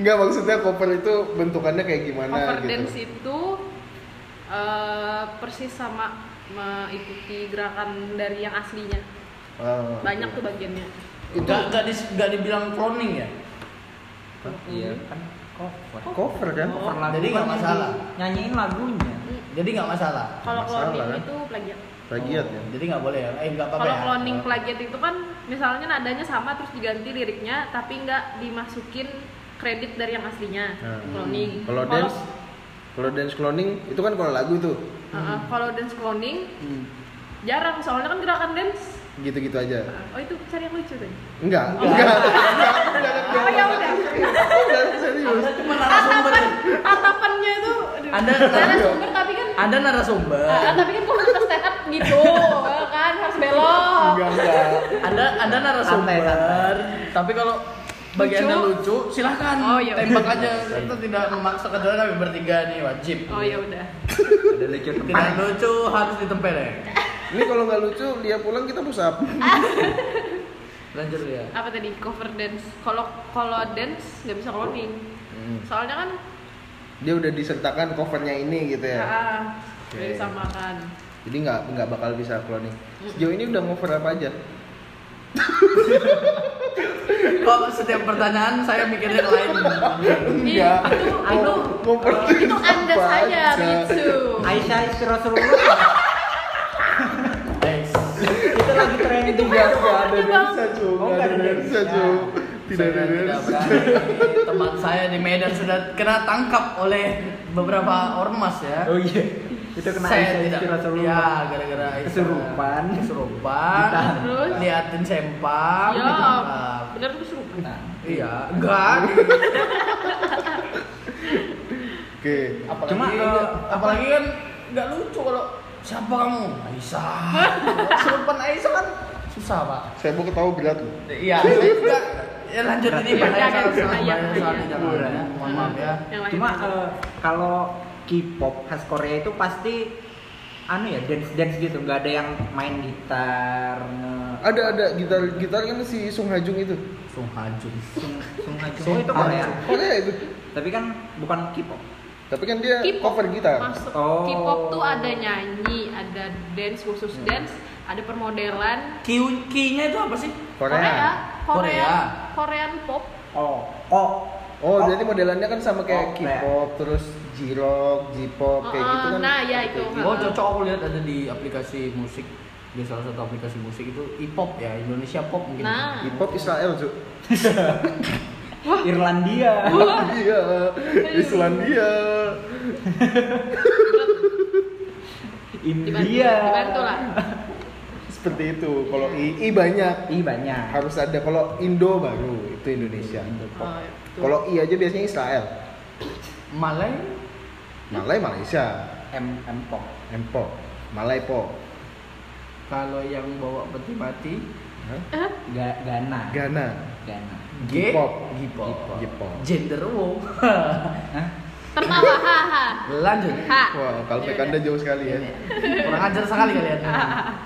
Enggak maksudnya cover itu bentukannya kayak gimana
cover
gitu?
dance itu eh, persis sama mengikuti gerakan dari yang aslinya.
Ah,
Banyak tuh bagiannya.
Itu
nggak nggak di nggak dibilang cloning ya
Iya kan cover.
cover kan?
Cover lagu
Jadi nggak
kan
masalah.
nyanyi- Nyanyiin lagunya.
jadi nggak masalah
Kalau
Masalah,
cloning
kan? Oh,
itu plagiat.
Plagiat
Oh,
ya.
jadi nggak boleh ya eh nggak apa-apa
Kalau
ya.
cloning plagiat itu kan misalnya nadanya sama terus diganti liriknya tapi nggak dimasukin kredit dari yang aslinya.
Hmm.
Cloning.
Kalau dance, kalau dance cloning itu kan kalau lagu tuh
Uh, uh, kalau dance cloning
Hmm.
jarang soalnya kan gerakan dance
gitu-gitu aja.
oh itu cari yang lucu tadi
Enggak,
ya
enggak, enggak, jangan
oh ya udah
jangan serius.
Anda cuma narasumber
tatapan tatapannya itu aduh.
Anda-
narasumber tapi kan
ada narasumber
ah, tapi kan kalau kita stand up gitu eh, kan harus belok
Enggak, enggak.
ada ada narasumber
Santai,
tapi kalau bagi
Lucu.
anda lucu silahkan
Oh, iya.
tembak aja kita tidak memaksa kecuali kami bertiga nih wajib
oh ya udah
Ada lucu tempat.
tidak lucu harus ditempel ya
Ini kalau nggak lucu, dia pulang kita pusap.
lanjut ya
apa tadi cover dance kalau kalau dance nggak bisa cloning
Hmm.
soalnya kan
Dia udah disertakan covernya ini gitu
ah,
ya.
ah,
Oke.
disamakan
Jadi nggak nggak bakal bisa cloning. Sejauh ini udah cover apa aja?
kok setiap pertanyaan saya mikirnya lain
Ih,
Enggak.
itu itu
Cover
itu gitu. anda
apa
saja
aja?
lucu
Aisyah istri Rasulullah
Guys,
itu lagi trending juga kan.
ada bang.
Cu.
Oh,
Nggak ada Ah.
nggak ada
dansa,
dansa.
Cu. Tidak
Saya
ada
tidak
dansa.
berani. Teman saya di Medan sudah kena tangkap oleh beberapa ormas ya.
Oh iya. Itu kena
saya
Aisyah
tidak
Iskira Rasulullah.
ya gara-gara Aisyah.
Kesurupan.
kesurupan
Ditahan.
Terus?
liatin sempak
Ya,
ditangkap.
bener tuh seru.
Nah,
iya enggak
Oke.
apalagi
Cuma, eh,
apalagi kan enggak lucu kalau siapa kamu Aisyah kesurupan Aisyah kan susah pak
Saya mau ketawa berat loh.
iya enggak ya lanjut ini
Iya,
pak saya
iya,
salah
iya,
salah
iya,
bayar soal
iya.
di Jakarta ya mohon maaf ya
Nah,
Yang lain.
Cuma eh, kalau K-pop khas Korea itu pasti anu ya dance dance gitu, nggak ada yang main gitar. nge-
Ada ada gitar gitar kan si Sung Hajung itu.
Sung Hajun
Sung- Sung Ha Jung.
Sung
Oh, itu
Ha
Korea.
Jung.
Korea itu.
Tapi kan bukan K-pop.
Tapi kan dia
K-pop.
cover gitar.
Masuk
Oh.
K-pop tuh ada nyanyi, ada dance khusus
Hmm.
dance, ada permodelan.
Q nya itu apa sih
Korea,
Korea.
Korea, Korean pop.
Oh, oh.
Oh, jadi modelannya kan sama kayak
Oh, Korea.
K-pop, terus J-rock, J-pop kayak
Heeh,
gitu kan.
nah, ya itu.
Kayak gitu.
oh cocok aku lihat ada di aplikasi musik di salah satu aplikasi musik itu hip-hop ya Indonesia pop mungkin
Nah.
Hip-hop Israel, Cuk.
Irlandia.
Iya, Islandia.
Dibantu,
India.
Iya.
dibantu lah.
Seperti itu. Kalau I, I banyak
Ih banyak.
harus ada kalau Indo baru itu Indonesia.
Oh, ya, betul.
Kalau I aja biasanya Israel.
Malay
Malay Malaysia,
M M pop.
Empok, Malay po,
kalau yang bawa peti mati
Hah?
Ga Ghana.
Ghana,
Ghana.
G
Gipop.
Gipop.
Gipop.
Gender wow.
Hah?
Tertawa, haha.
Lanjut.
Ha.
Wah, kalpek
Yaudah.
anda jauh sekali ya.
Kurang ajar sekali ya. kalian.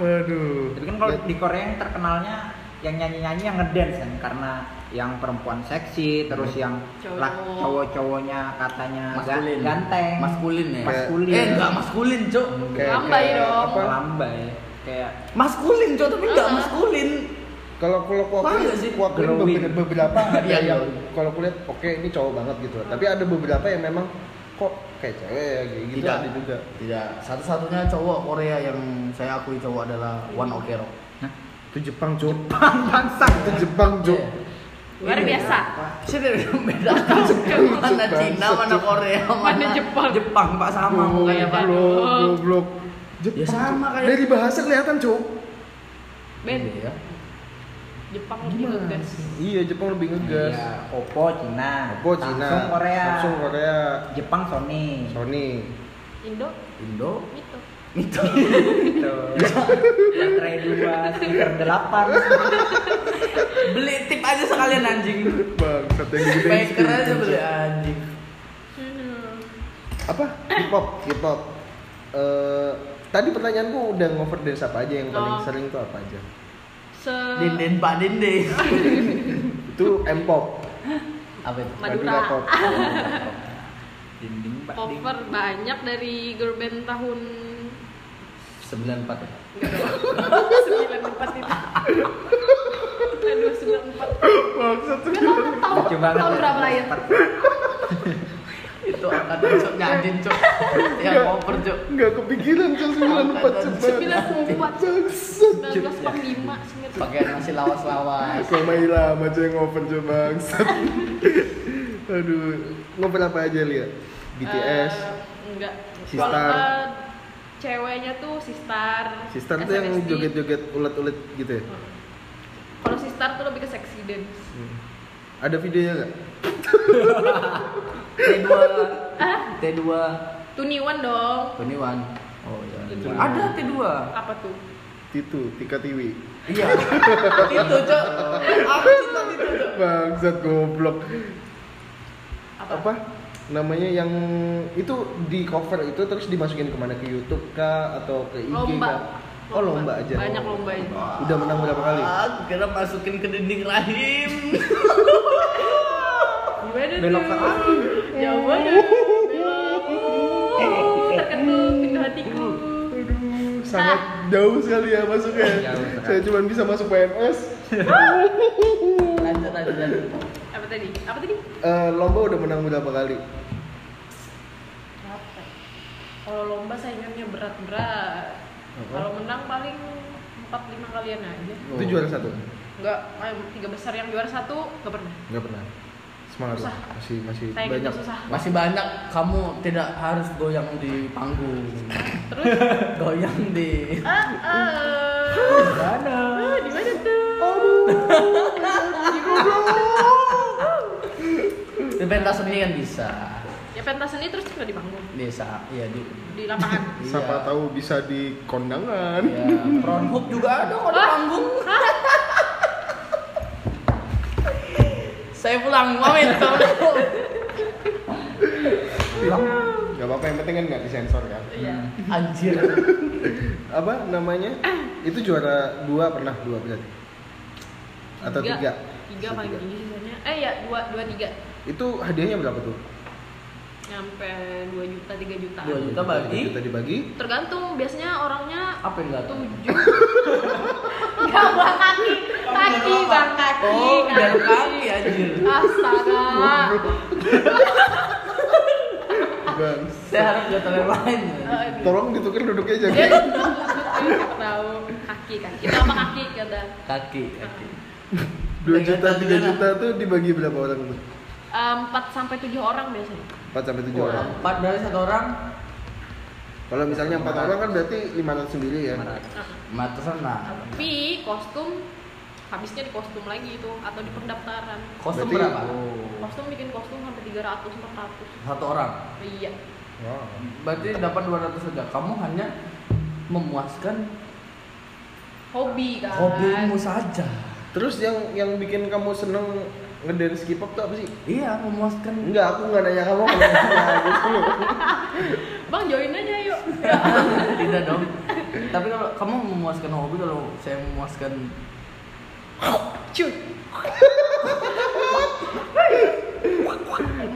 Waduh.
Tapi kan kalau di Korea yang terkenalnya yang nyanyi-nyanyi yang ngedance kan karena yang perempuan seksi terus yang
Cowok.
lak- cowok-cowoknya katanya ga-
Maskulin.
ganteng
Maskulin ya.
maskulin
Eh enggak maskulin, Cok.
Lambai dong.
apa?
lambai kayak
Maskulin, Cok, tapi enggak
Ah.
maskulin.
Kalau kalau aku
Paham
iya
nggak sih?
kuakuin
Glowing.
beberapa, beberapa ada
Iya,
yang
iya.
kalau kulihat oke ini cowok banget gitu. Tapi ada beberapa yang memang kok kayak cewek ya kayak gitu
Tidak.
ada juga.
Tidak, satu-satunya cowok Korea yang saya akui cowok adalah One Ok Rock.
Itu Jepang, Cuk.
bangsa
Itu Jepang, Cuk.
Luar biasa.
Sih beda
ya.
Cuma mana Cina, mana Korea,
Mana
mana
Jepang.
Jepang Pak sama mukanya Pak.
Goblok, goblok.
Ya sama
Cuk.
kayak-
Dari bahasa kelihatan, Cuk.
Ben,
ya.
Iya.
Jepang lebih ngegas.
Iya, Jepang lebih ngegas.
iya Oppo Cina
Oppo Cina,
Samsung Korea
Samsung Korea,
Jepang Sony
Sony.
Indo,
Indo
itu.
itu
gitu baterai dua speaker delapan
beli tip aja sekalian anjing.
Bang, satu yang gede.
Speaker aja beli anjing.
ya. apa K-pop K-pop Eh, tadi pertanyaanku udah ngover dance apa aja yang paling
Oh.
sering tuh apa aja
Se
Denden Pak Denden.
itu M-pop
Apa itu?
Madura.
Madura pop
dinding pak
cover banyak dari girl band tahun
94 ya?
94 itu. Aduh, 94. Memang tahu
lucu banget
tahun
ya.
berapa lahir?
Itu angkatan cok nyadin ya, cok Yang over cok
nggak kepikiran tuh sembilan empat coba
94,
Bangsat.
1945, 1945.
Pakaian masih lawas-lawas
sama Ila macam yang ngover coba bangsat aduh ngover apa aja lihat BTS
Eh, enggak.
Sistar.
Kalau, eh, ceweknya tuh Sistar.
Sistar tuh yang
SNSD.
joget-joget ulet-ulet gitu ya
Kalau Sistar tuh lebih ke seksi dance.
ada videonya nggak
T2 T2
Tuniwan dong.
Tuniwan Oh iya
Tuniwan.
Ada T2
Apa tuh?
Titu Tika Tiwi
Iya Itu cok Aku cinta itu cok
bangsat goblok
Apa?
apa namanya yang itu di cover itu terus dimasukin kemana ke YouTube kah atau ke IG kah?
Lomba.
Oh lomba aja.
Banyak lomba aja.
Udah menang berapa kali?
Aku kira masukin ke dinding rahim
Gimana
belok ke
tuh?
aku
Jauh banget. Belok. Terketuk pintu hatiku.
Aduh, sangat
Ah.
jauh sekali ya masuknya.
Jauh sekali.
Saya cuma bisa masuk PNS.
Lanjut lanjut lanjut
Apa tadi? Apa tadi?
Eh, lomba udah menang berapa kali?
Apa? Kalau lomba saingannya berat-berat.
Apa?
Kalau menang paling 4-5 kalian aja.
Oh.
Itu juara satu?
Enggak, eh, tiga besar yang juara satu nggak pernah.
Nggak pernah. Semangat lah.
Susah.
Masih masih
Saya gitu
banyak.
susah.
Masih banyak kamu tidak harus goyang di panggung.
Terus
Goyang di
ah, ah,
Mana?
ah, di mana tuh?
di pentas seni kan bisa.
Ya pentas seni terus nggak di panggung,
Bisa. Iya di
di lapangan.
Siapa
iya.
tahu bisa di kondangan.
Iya, front hook juga ada kok di
Hah?
panggung.
Hah?
Saya pulang, pamit.
Gak apa-apa yang penting kan Iya. nggak disensor kan.
Iya.
Anjir.
Apa namanya? Itu juara dua pernah dua berarti. Atau tiga.
Tiga paling
Tiga.
tinggi sisanya. Eh ya dua dua tiga.
Itu hadiahnya berapa tuh?
Nyampe dua juta tiga juta.
Dua juta bagi.
Tiga juta dibagi.
Tergantung biasanya orangnya
Apa yang datang?
tujuh nggak bang kaki kaki bang kaki
Oh, jarum kaki anjir.
astaga Ah.
Bang,
Saya harus jatuh lain.
Eh,
tolong ditukar duduknya aja.
dia nggak tahu kaki kaki berapa kaki kata
Kaki, kaki.
Dua
Iya,
juta tiga juta tuh dibagi berapa orang tuh?
Eh, empat sampai tujuh orang biasanya
Empat sampai tujuh
Wah,
orang.
Empat dari satu orang.
Kalau misalnya empat orang kan berarti lima ratus sendiri ya.
Mata sana.
tapi kostum habisnya di kostum lagi itu atau di pendaftaran
Kostum
Berarti-
berapa?
kostum bikin kostum sampai 300 400
Satu orang.
iya
Wow.
Berarti dapat 200 saja. Kamu hanya memuaskan
hobi kan
hobimu saja.
Terus yang yang bikin kamu seneng ngedance K-pop tuh apa sih?
Iya, memuaskan.
Enggak, aku nggak nanya kamu kenapa gitu.
bang join aja yuk
Tidak dong. Tapi kalau kamu memuaskan hobi, kalau saya memuaskan
cuy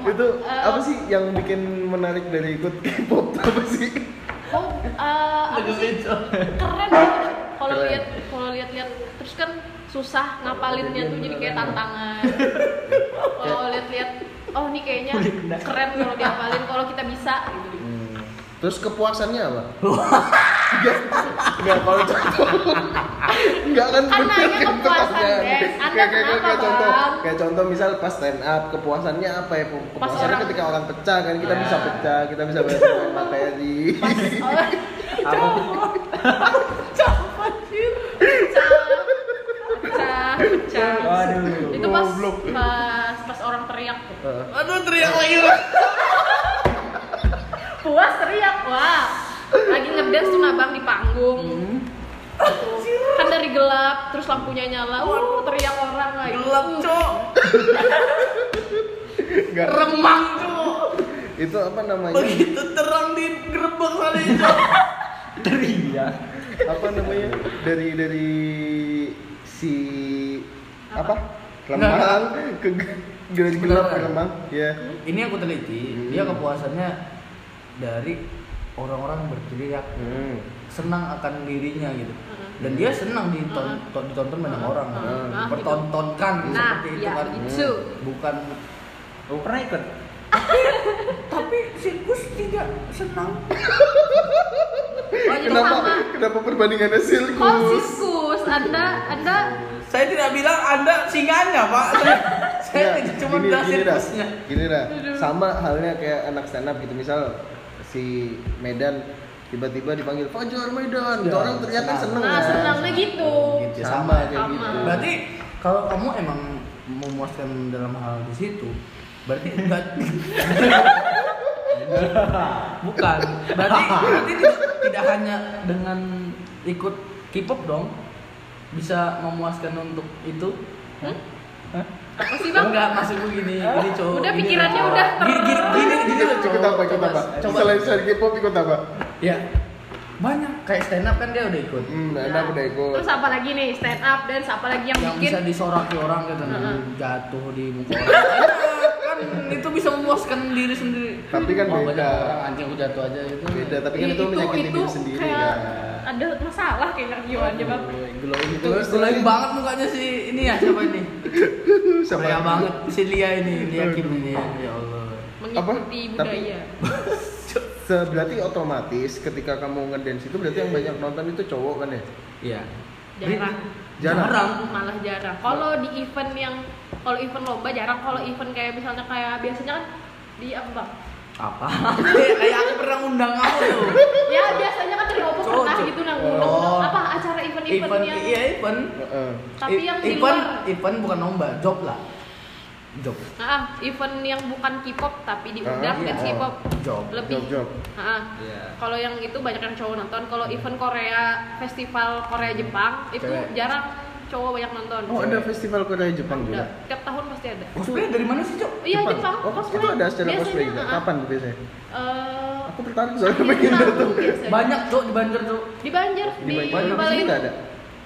Itu
Eh,
apa sih yang bikin menarik dari ikut K-pop tuh apa sih?
Oh, eh, apa sih? keren gitu. kalau
Keren.
lihat kalau lihat-lihat terus kan susah ngapalinnya tuh jadi kayak tantangan. Kalau lihat-lihat oh ini kayaknya keren kalau dihafalin kalau kita bisa gitu.
Hmm. Terus kepuasannya apa? Enggak, enggak kalau contoh Enggak kan
Kan
bener
nanya
kan
kepuasan,
pertanyaan.
Des. Anda kenapa,
kayak contoh,
Bang?
kayak contoh misal pas stand up, kepuasannya apa ya? Kepuasannya
orang- Nah.
ketika orang pecah kan kita bisa pecah, kita bisa bahas tentang materi.
Oh,
Apa?
pecah. Pecah, pecah.
Waduh.
Itu pas pas pas orang teriak tuh.
Heeh.
Aduh, teriak lagi.
puas teriak wah lagi ngedance tuh nabang di panggung Gitu. kan dari gelap terus lampunya nyala wah teriak orang lagi Uh, oh,
Gelap, Cok.
Enggak.
Remang, gitu. Cok.
Itu apa namanya?
Begitu terang di gerbang sana, Cok.
Teriak.
apa namanya dari dari si apa, lemang ke gelap gelap ke
Beneran.
lemang ya
Ini aku teliti, dia kepuasannya dari orang-orang berteriak
hmm.
senang akan dirinya gitu.
Heeh.
Dan dia senang diton- ditonton banyak
Heeh.
orang.
Heeh.
gitu.
Nah, gitu.
Pertontonkan
Nah,
seperti itu
ya,
kan.
begitu.
Bukan
Lu pernah ikut?
tapi sirkus tidak senang.
oh jadi
kenapa
sama
kenapa perbandingannya
oh
silkus
sirkus anda anda
Saya tidak bilang Anda singanya, Pak. Saya, saya
Ya,
tidak cuma
gini-
bilang
gini dah,
sirkusnya.
gini dah
Aduh.
sama halnya kayak anak stand up gitu misal si Medan tiba-tiba dipanggil Fajar Medan gitu
Ya,
orang ternyata
senang.
seneng,
nah
kan?
senangnya gitu
Gitu,
sama
sama.
kayak
Sama.
gitu
Berarti kalau kamu emang memuaskan dalam hal di situ, berarti enggak bukan. Berarti berarti tidak, tidak hanya dengan ikut K-pop dong bisa memuaskan untuk itu.
apa sih bang
Enggak, maksudku gini, gini cowok.
Eh, Udah,
gini,
pikirannya
cowok.
udah
gini, gini, gini, gini loh cowok.
Iya, ikut apa ikut
Coba-
apa
Coba.
selain selain K-pop ikut apa
Ya. Banyak kayak stand up kan dia udah ikut.
hmm anak udah ikut
Iya. terus apa lagi nih stand up dance apa lagi yang,
yang
bikin
bisa disoraki orang gitu nah,
Heeh.
jatuh di muka orang Enak, kan itu bisa memuaskan diri sendiri
Tapi kan
Wah,
beda.
banyak orang anjing aku jatuh aja gitu
beda tapi kan
Ih,
itu menyakiti diri sendiri
kayak
kan
ya.
ada masalah kayaknya jiwanya bang
glowing itu
Terus
glowing
ini-
banget mukanya si ini ya siapa ini Kaya banget si Lia ini Lia Kim ini ya, ya Allah
mengikuti
Apa? Tapi-
budaya
Se- berarti otomatis ketika kamu ngedance itu berarti yang banyak nonton itu cowok kan ya?
Iya.
jarang
Jarang.
Jarang.
malah jarang kalau di event yang kalau event lomba jarang kalau event kayak misalnya kayak biasanya kan di apa bang
Apa? Kayak aku pernah undang kamu tuh.
ya biasanya kan dari Oppo
Cocok.
pernah gitu nang
Oh.
undang-undang. apa acara event-event
Event,
yang
iya event.
Heeh.
tapi yang di
event,
luar
event bukan lomba, job lah. Job.
ah event yang bukan K-pop tapi
Ah,
diundang
iya.
dance K-pop
Job.
lebih
Job, job.
Ah.
Iya.
kalau yang itu banyak yang cowok nonton kalau event Korea festival Korea Jepang itu
Cewek.
jarang cowok banyak nonton
Oh ada festival Korea Jepang juga?
Udah, tiap tahun pasti ada
Cosplay dari mana sih, Cok?
iya
Jepang.
Jepang
Oh,
cosplay.
itu ada acara cosplay juga.
Biasanya, ah,
Kapan tuh biasanya?
eh,
Aku tertarik soalnya
akhir
pengen
tahun
datang.
biasanya.
Banyak, Cok, di Banjar, Cok.
di Banjar
Di
di,
Banjar di sini
Balai-
nggak ada.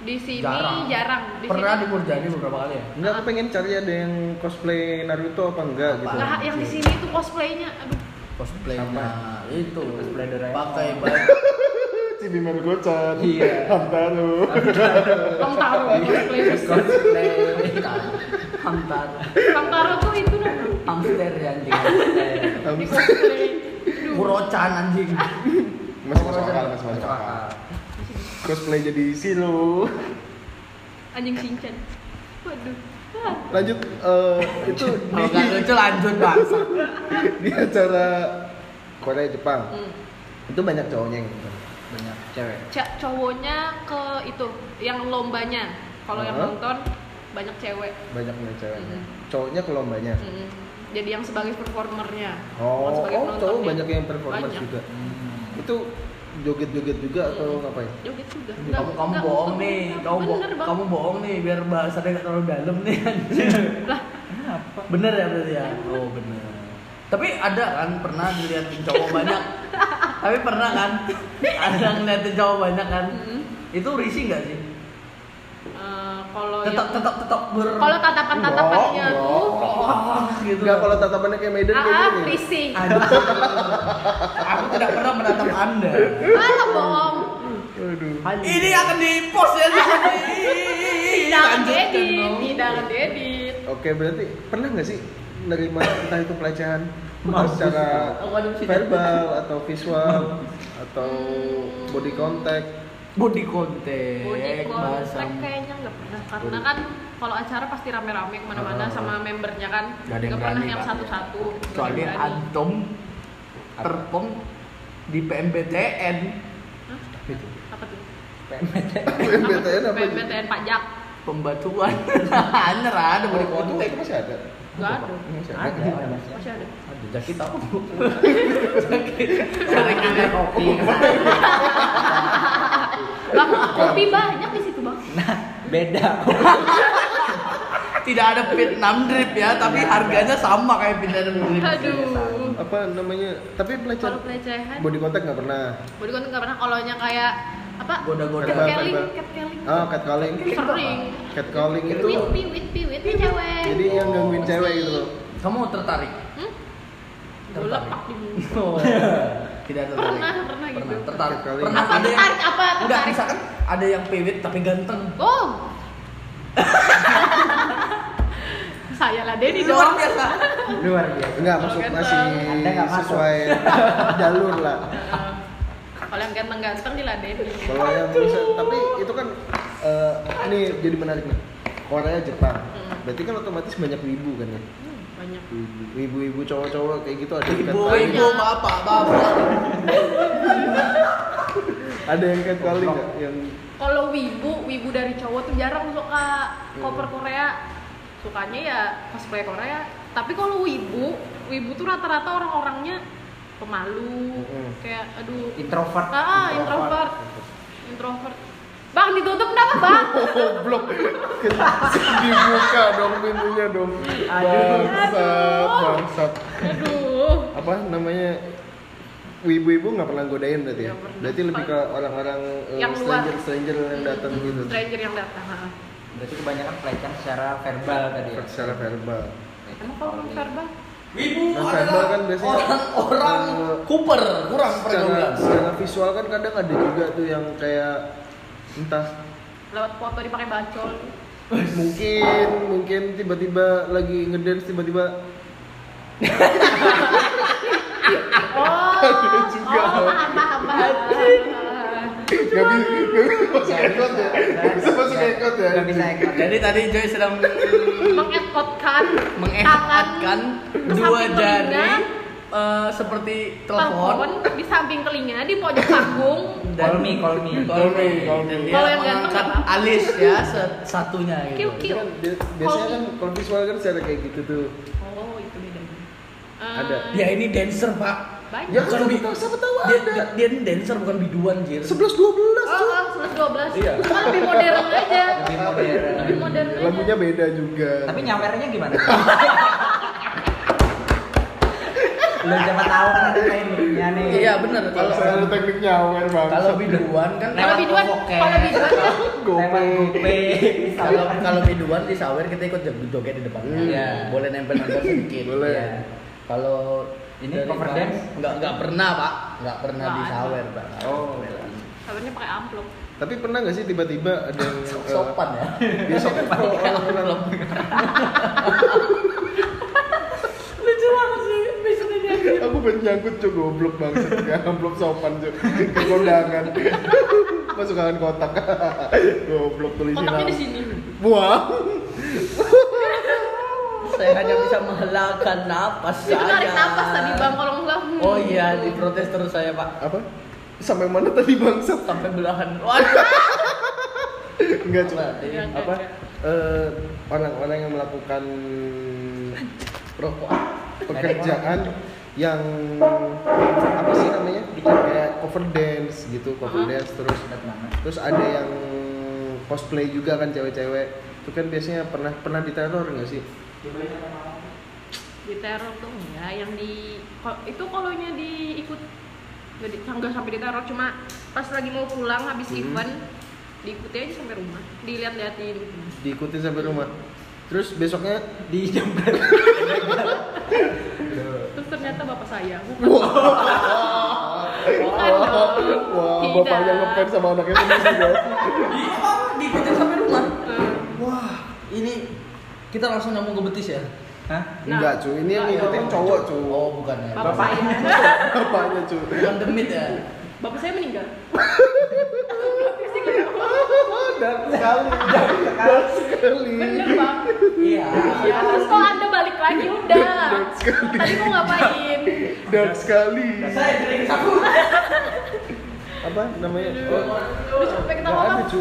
di sini
Jarang.
jarang, Di
Pernah di
sini,
Murjani beberapa kali ya?
Enggak, aku pengen cari ada yang cosplay Naruto apa enggak gitu.
Nggak, yang di sini itu cosplaynya aduh
Cosplay
Apa?
itu.
Cosplay Doraemon.
Pakai baju.
Cibiman Gocan.
Iya.
Hamtaro.
Bang Taro cosplay
Cosplay. Hamtar.
Bang Taro tuh itu nah
Hamster ya anjing.
di cosplay
Murocan anjing.
Masih masuk akal, masih masuk akal. Cosplay jadi Silo.
anjing sinchan waduh Ah,
Lanjut eh, itu
Kalau nggak
di,
lucu lanjut bangsa.
di acara Korea Jepang.
hmm.
Itu banyak cowoknya yang nonton.
Banyak.
cewek
Ca- cowoknya ke itu yang lombanya kalau yang
Hah?
nonton banyak cewek
Banyak yang
Iya.
ceweknya.
Mhm.
Cowoknya ke lombanya.
Hmm.
Mm-mm. jadi yang sebagai performernya bukan
Oh,
sebagai
oh cowok
penontonnya.
banyak yang performer
Banyak.
juga. Itu joget-joget
Iya.
juga atau ngapain?
joget juga Nggak-
Kamu, kamu
nggak-
bohong nih, kamu, bo-
bener bang
kamu bohong nih, biar bahasanya nggak terlalu dalam nih anjing.
Lah.
bener ya berarti ya? Oh bener. Tapi ada kan pernah dilihatin cowok banyak. Tapi pernah kan ada ngeliatin cowok banyak kan.
Mm-mm.
Itu risih nggak sih?
Eh, kalau
Tetap
yang-
tetap tetap ber.
kalau tatapan tatapannya
Enggak,
tuh
Oh, gitu.
Enggak kalau tatapannya kayak Medan
ah
kayak
ah,
gini.
risih
Aduh. Aku tidak pernah menatap Anda.
malah bohong
Aduh.
Ini akan di-post ya di sini.
tidak akan
Iya, Lanjutkan
diedit
dong.
tidak akan diedit
Oke, berarti pernah nggak sih nerima entah itu pelecehan
Mampus.
secara
Aku ada sini.
verbal atau visual atau body contact?
Body contact.
Body
bahasa.
contact kayaknya nggak pernah karena kan kalau acara pasti rame-rame kemana-mana
Ah.
sama membernya kan
Nggak ada yang
nggak pernah
berani,
yang
Pak.
satu-satu nggak
Kecuali
berani.
antum perform di PMBTN.
Hah? apa tuh
Hmm.
PMBTN Eh, apa? gitu?
PMBTN pajak
Pembatuan. Anjir ada body
Body
contact.
contact itu masih ada.
nggak ada
Masih ada.
Ada. ada.
masih ada
Aduh, jadi tahu.
cewek kita kopi
bang kopi banyak di situ bang
beda
Tidak ada Vietnam drip ya, tapi harganya sama kayak Vietnam drip.
aduh
Apa namanya? Tapi
kalau
pelecehan
pelecehan
body contact nggak pernah.
body contact nggak pernah kalau nya kayak apa
Goda-goda.
catcalling
Verbal.
catcalling
Ah, catcalling.
sering
Catcalling itu
wit piwit piwit ya cewek
jadi yang gangguin cewek gitu loh.
Kamu tertarik?
hmm? Gue lepak di bumi.
Oh, tidak tertarik.
Pernah, pernah gitu.
Tertarik
Kali.
Pernah
apa
ada yang
tertarik apa
udah
tertarik
misalkan ada yang pewit tapi ganteng.
oh saya lah Denny
Luar
dong
biasa.
luar biasa
Enggak, maksud
Kalau
masih
ganteng.
Anda nggak masuk.
sesuai jalur lah.
Eh, kalau yang ganteng-ganteng diladeni
Kalau yang bisa, tapi itu kan eh, ini jadi menarik nih. Korea Jepang.
Hmm.
Berarti kan otomatis banyak wibu kan ya.
Hmm, banyak
Wibu- Wibu-wibu cowok-cowok kayak gitu ada yang
Ibu,
catcalling.
ibu, bapak, bapak.
Ada yang catcalling nggak? Yang
kalau wibu wibu dari cowok tuh jarang suka
Hmm.
cover Korea sukanya ya cosplay Korea tapi kalau wibu wibu tuh rata-rata orang-orangnya pemalu
Mm-mm.
kayak aduh
introvert
ah introvert introvert bang ditutup kenapa bang
goblok dibuka dong pintunya dong. Bangsat,
Aduh.
bangsat.
aduh
Apa namanya? Wibu-wibu nggak pernah godain berarti ya?
Nggak pernah.
Berarti lebih ke orang-orang eh,
Yang luar.
stranger-stranger yang datang gitu.
stranger yang datang ah.
berarti kebanyakan pelecehan secara verbal tadi ya
secara verbal.
emang kalau
Gitu.
belum verbal
Ibu
Nah, verbal
adalah
kan biasanya,
orang-orang
eh,
Cooper, kurang
Secara,
pergaulan.
secara visual kan kadang ada juga tuh yang kayak entah
lewat foto dipakai bacol
mungkin mungkin tiba-tiba lagi ngedance tiba-tiba
oh
ada Iya juga.
Oh, paham, paham, paham.
Gak bisa, gak bisa masuk ekot ya. Gak bisa masuk ekot ya.
Gak bisa ekot.
Jadi tadi Joy sedang
Mengekotkan
mengekatkan
tangan ke
dua
samping
jari
telinga,
eh, seperti
telepon
telepon
di samping telinga di pojok panggung
Call me, call me.
Call me,
Call me.
Dan dia
Kalau yang ganteng
mengangkat
nggak apa-apa.
alis ya se- satunya gitu.
kiu kiu
Bi- Biasanya kan kalau visual kan ada kayak gitu tuh.
oh itu bedanya Eh,
Ada.
Ya ini dancer pak.
banyak
Ya
ya,
kan
Bukan
siapa
bi-
tahu, siapa tahu
Dia,
ada.
dia dancer bukan biduan jir. Ah. Ya
11 12 tuh.
oh, oh 11 12
Iya.
cuma lebih modern aja
Lebih modern.
lebih modern aja
Lagunya beda juga.
Tapi nyawernya gimana? Lu siapa tahu kan ada timingnya nih.
Iya benar.
kalau selalu
Kalau
teknik nyawer banget.
kalau biduan kan
kalau
Lewat
biduan
pokoknya.
kalau biduan kan
Lewat gope.
kalau kalau biduan di sawer kita ikut jog- joget di depannya.
Hmm.
Ya, Boleh nempel-nempel sedikit.
Boleh.
Ya. Kalau
Ini
dari
cover
Bang-
dance?
Nggak nggak pernah pak. Nggak pernah
Nggak
di
ada.
sawer pak.
Oh.
kabarnya pakai amplop
Tapi pernah nggak sih tiba-tiba ada yang eh, Oh,
Sopan ya.
dia sopan.
lucu banget sih biasanya dia
Aku pengen nyangkut cuy goblok bangsa Gak amplop sopan cuy Ke kondangan Masuk kangen kotak Goblok tulis
kotaknya di sini
Wah
Saya hanya bisa menghelakan napas saya.
itu tarik nafas tadi bang kalau enggak hmm.
Oh iya, diprotes terus saya pak.
Apa? Sampai mana tadi bangsa?
Sampai belahan. Waduh.
Enggak cuma
Iya, enggak,
Apa?
enggak.
Eh, Orang-orang yang melakukan
Rokok.
pekerjaan yang apa sih namanya kayak cover dance gitu cover
Hah?
dance terus
mana?
terus ada yang cosplay juga kan cewek-cewek itu kan biasanya pernah pernah diteror nggak sih
di teror tuh enggak yang di ko- itu kolonya diikut nggak di- nggak sampai di teror cuma pas lagi mau pulang habis
Hmm.
event diikuti aja sampai rumah gitu. dilihat-liatin
diikutin sampai rumah terus besoknya
Di jempol.
terus ternyata bapak saya
wah
bukan dong
wah bapaknya ngefans sama anaknya sendiri guys
Diikutin sampai rumah.
Eh,
Wah, ini kita langsung nyambung ke betis ya.
Hah?
Nah,
enggak cuy ini yang
enggak,
ngikutin
enggak.
cowok cuy
Oh, bukan ya.
bapak saya
bapaknya cuy
Bukan demit ya.
bapak saya meninggal
dan sekali dan sekali
bener bang
Iya.
ya, terus kalau anda balik lagi udah tadi mau ngapain
dan sekali
Saya sering sapu.
apa namanya Oh,
udah sampai kita
Nggak
ngomong
ada, Cu.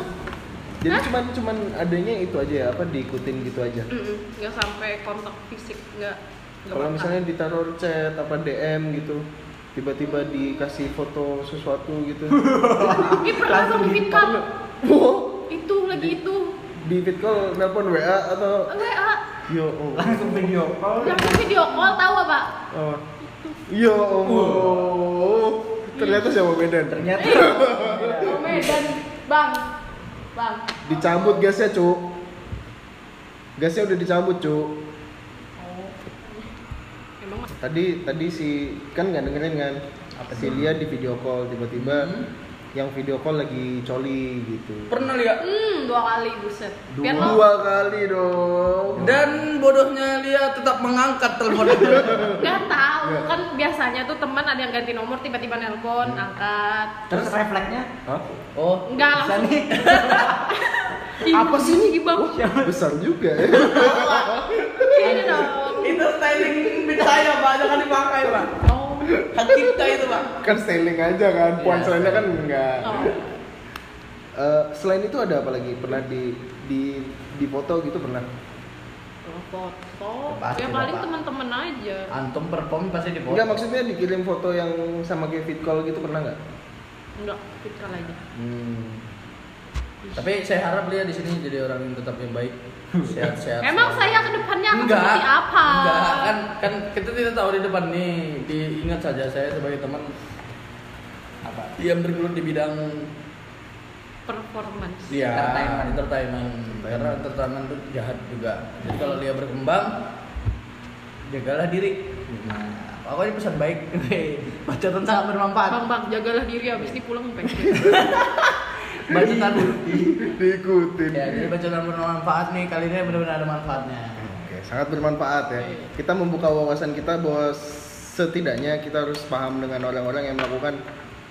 Jadi
Hah?
cuman cuman adanya itu aja ya, apa diikutin gitu aja.
Mm-mm, nggak sampai kontak fisik nggak nggak
Kalau
kontak.
misalnya ditaruh chat apa DM gitu, tiba-tiba dikasih foto sesuatu gitu.
Ih, pernah dong di Fitcam.
Wow,
Itu lagi itu.
di vid call nelpon WA atau
WA
yo oh.
Langsung video call.
yang video call tahu apa?
Oh. Yo oh. Ternyata sama Medan.
Ternyata
Ke Medan, Bang. Bang.
Dicambut gasnya, Cuk. Gasnya udah dicambut, Cuk.
Emang mas-
Tadi tadi si kan nggak dengerin kan?
Apa
Si Lia di video call tiba-tiba
Hmm.
yang video call lagi coli gitu.
Pernah lihat.
Hmm, dua kali buset.
Dua,
Biar lo-
kali dong.
Dan bodohnya dia tetap mengangkat telepon itu.
nggak tahu kan biasanya tuh teman ada yang ganti nomor tiba-tiba nelpon angkat
terus refleksnya
Oh,
nggak
bisa
langsung
nih.
apa sih ini bang
Besar juga ya.
ini dong
itu styling bidaya pak, jangan dipakai pak.
oh
Hak cipta itu pak.
kan styling aja kan. Poin
Iya.
selainnya kan enggak.
oh
Eh, selain itu ada apa lagi? Pernah di di di foto gitu pernah?
Kalau foto
Pasti
ya paling
dong, Pak.
teman-teman aja
Antum perform pasti di
Enggak maksudnya dikirim foto yang sama kayak fit call gitu pernah nggak?
enggak kita aja
Hmm. Tapi saya harap Lia di sini jadi orang yang tetap yang baik, sehat-sehat.
emang
selalu.
saya ke depannya akan
Enggak.
seperti apa
Enggak, kan kan kita tidak tahu di depan nih. Diingat saja saya sebagai teman apa? Yang bergelut di bidang
performance
ya,
Entertainment.
entertainment. Karena entertainment itu jahat juga. Jadi kalau dia berkembang jagalah diri. Nah, pokoknya pesan baik. Bacotan sangat bermanfaat.
Bang bang jagalah diri habis ini pulang pengen.
Bacotan
Diikutin.
ya, jadi bacotan bermanfaat nih. Kali
Hmm.
ini benar-benar ada manfaatnya.
Oke, sangat bermanfaat ya. Kita membuka wawasan kita bahwa setidaknya kita harus paham dengan orang-orang yang melakukan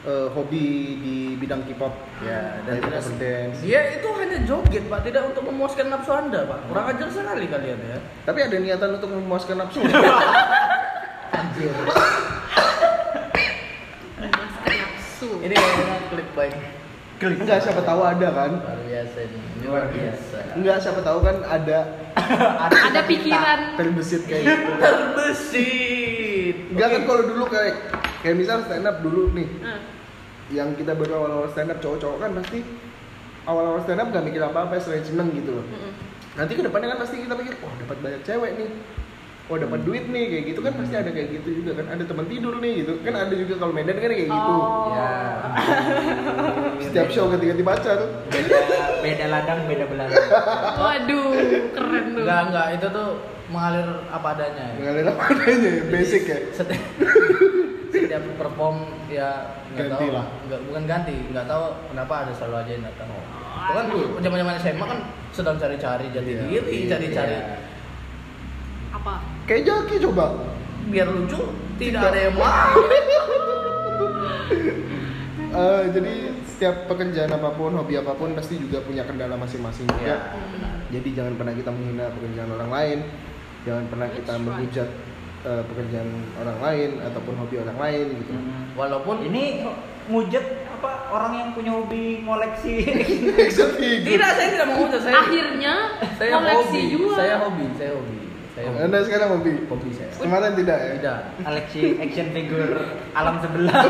eh, hobi di bidang K-pop
Ya, dan
Baik
tidak
cover dance.
Dia Ya, itu hanya joget, Pak, tidak untuk memuaskan nafsu Anda, Pak. Kurang ajar sekali kalian ya.
tapi ada niatan untuk memuaskan nafsu
Anjir.
Memuaskan nafsu.
Ini kayaknya klip baik
enggak siapa tahu ada kan
luar biasa ini. Luar biasa.
enggak siapa tahu kan ada
Ada pikiran.
terbesit kayak gitu
Terbesit.
enggak kan kalau dulu kayak kayak misal stand up dulu nih
Hmm.
yang kita baru awal-awal stand up cowok-cowok kan pasti awal-awal stand up gak mikir apa-apa selain seneng gitu loh
Mm-mm.
nanti kedepannya kan pasti kita pikir wah dapat banyak cewek nih wah dapat duit nih kayak gitu kan pasti ada kayak gitu juga kan ada teman tidur nih gitu kan ada juga kalau Medan kan kayak gitu
Oh.
Ya.
setiap show ganti-ganti pacar
beda beda ladang beda belalang.
Waduh, keren tuh.
Enggak, enggak, itu tuh mengalir apa adanya ya.
mengalir apa adanya ya, basic ya
Setiap, setiap perform ya nggak
Ganti
tahu
lah.
nggak bukan ganti nggak tahu kenapa ada selalu aja yang datang Itu kan dulu zaman zaman SMA kan sedang cari-cari jati
Iya.
diri cari-cari
Iya.
Apa?
kayak joki coba
biar lucu tidak ada yang mau
Eh, jadi setiap pekerjaan apapun hobi apapun pasti juga punya kendala masing-masing
Iya.
juga Jadi jangan pernah kita menghina pekerjaan orang lain, jangan pernah kita
That's right.
menghujat eh, pekerjaan orang lain ataupun hobi orang lain gitu.
Hmm.
walaupun
Ini ngujet apa orang yang punya hobi ngoleksi
Action figure.
tidak saya tidak mau ngujat, saya
Akhirnya
saya
koleksi
hobi
juga.
saya hobi saya hobi saya hobi,
Anda sekarang hobi?
hobi saya
Kemarin tidak ya?
tidak
koleksi action figure alam sebelah.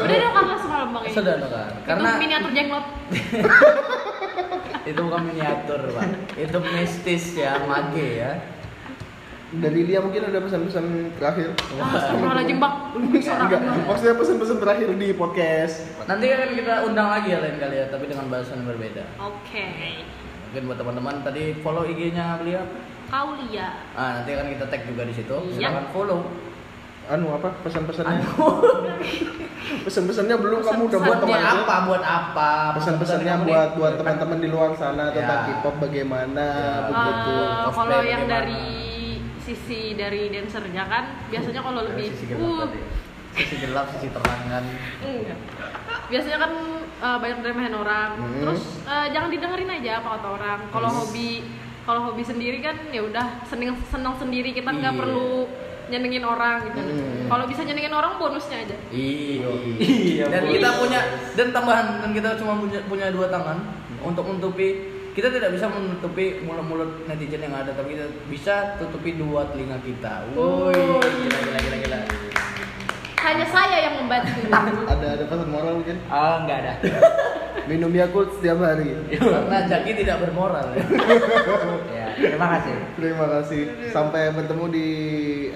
Udah dong kakak semalam bang ini.
sudah kan
Karena
karena
itu Oh, iya. miniatur jenglot.
itu bukan miniatur pak itu mistis ya mage ya
Dari Lia mungkin ada pesan-pesan terakhir.
Oh, Ah, Astagfirullahaladzim bang. Lebih seorang.
Enggak, maksudnya pesan-pesan terakhir di podcast.
nanti akan kita undang lagi ya lain kali ya tapi dengan bahasan yang berbeda
Oke.
mungkin buat teman-teman tadi follow IG-nya beliau
Kau lihat.
ah nanti akan kita tag juga di situ
Iya.
silakan follow
Anu apa pesan-pesannya?
Anu.
Pesan-pesannya belum kamu udah buat
buat
teman aja.
apa buat apa
Pesan-pesannya
Teman-teman
buat
ini.
buat teman-teman di luar sana tentang
Ya.
K-pop bagaimana
Ya.
begitu.
Eh,
Cosplay
kalau yang
bagaimana?
dari sisi dari dancernya kan biasanya kalau
Dari
lebih
sisi gelap
uh,
tadi. sisi gelap sisi terang kan
enggak. Iya. biasanya kan eh, banyak diremehin orang
Hmm.
terus eh, jangan didengerin aja apa kata orang kalau hobi kalau hobi sendiri kan ya udah seneng seneng sendiri kita nggak
Iya.
perlu nyenengin orang gitu
Hmm.
kalau bisa nyenengin orang bonusnya aja
Iya.
Iya,
Dan
Boy.
kita punya dan tambahan dan kita cuma punya, punya dua tangan untuk menutupi kita tidak bisa menutupi mulut-mulut netizen yang ada tapi kita bisa tutupi dua telinga kita. Woi, gila gila gila gila.
hanya saya yang membantu
Ada ada pesan moral mungkin?
Oh, enggak ada.
Minum Yakult setiap hari.
Karena Jaki tidak bermoral ya.
Ya, terima kasih.
Terima kasih. Sampai bertemu di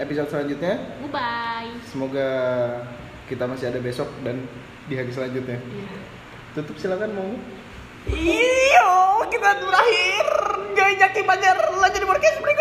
episode selanjutnya.
bye bye
Semoga kita masih ada besok dan di hari selanjutnya. Tutup silakan mau.
Iya,
Iyo, kita terakhir. Joy Jaki Banjar, lanjut di podcast berikutnya.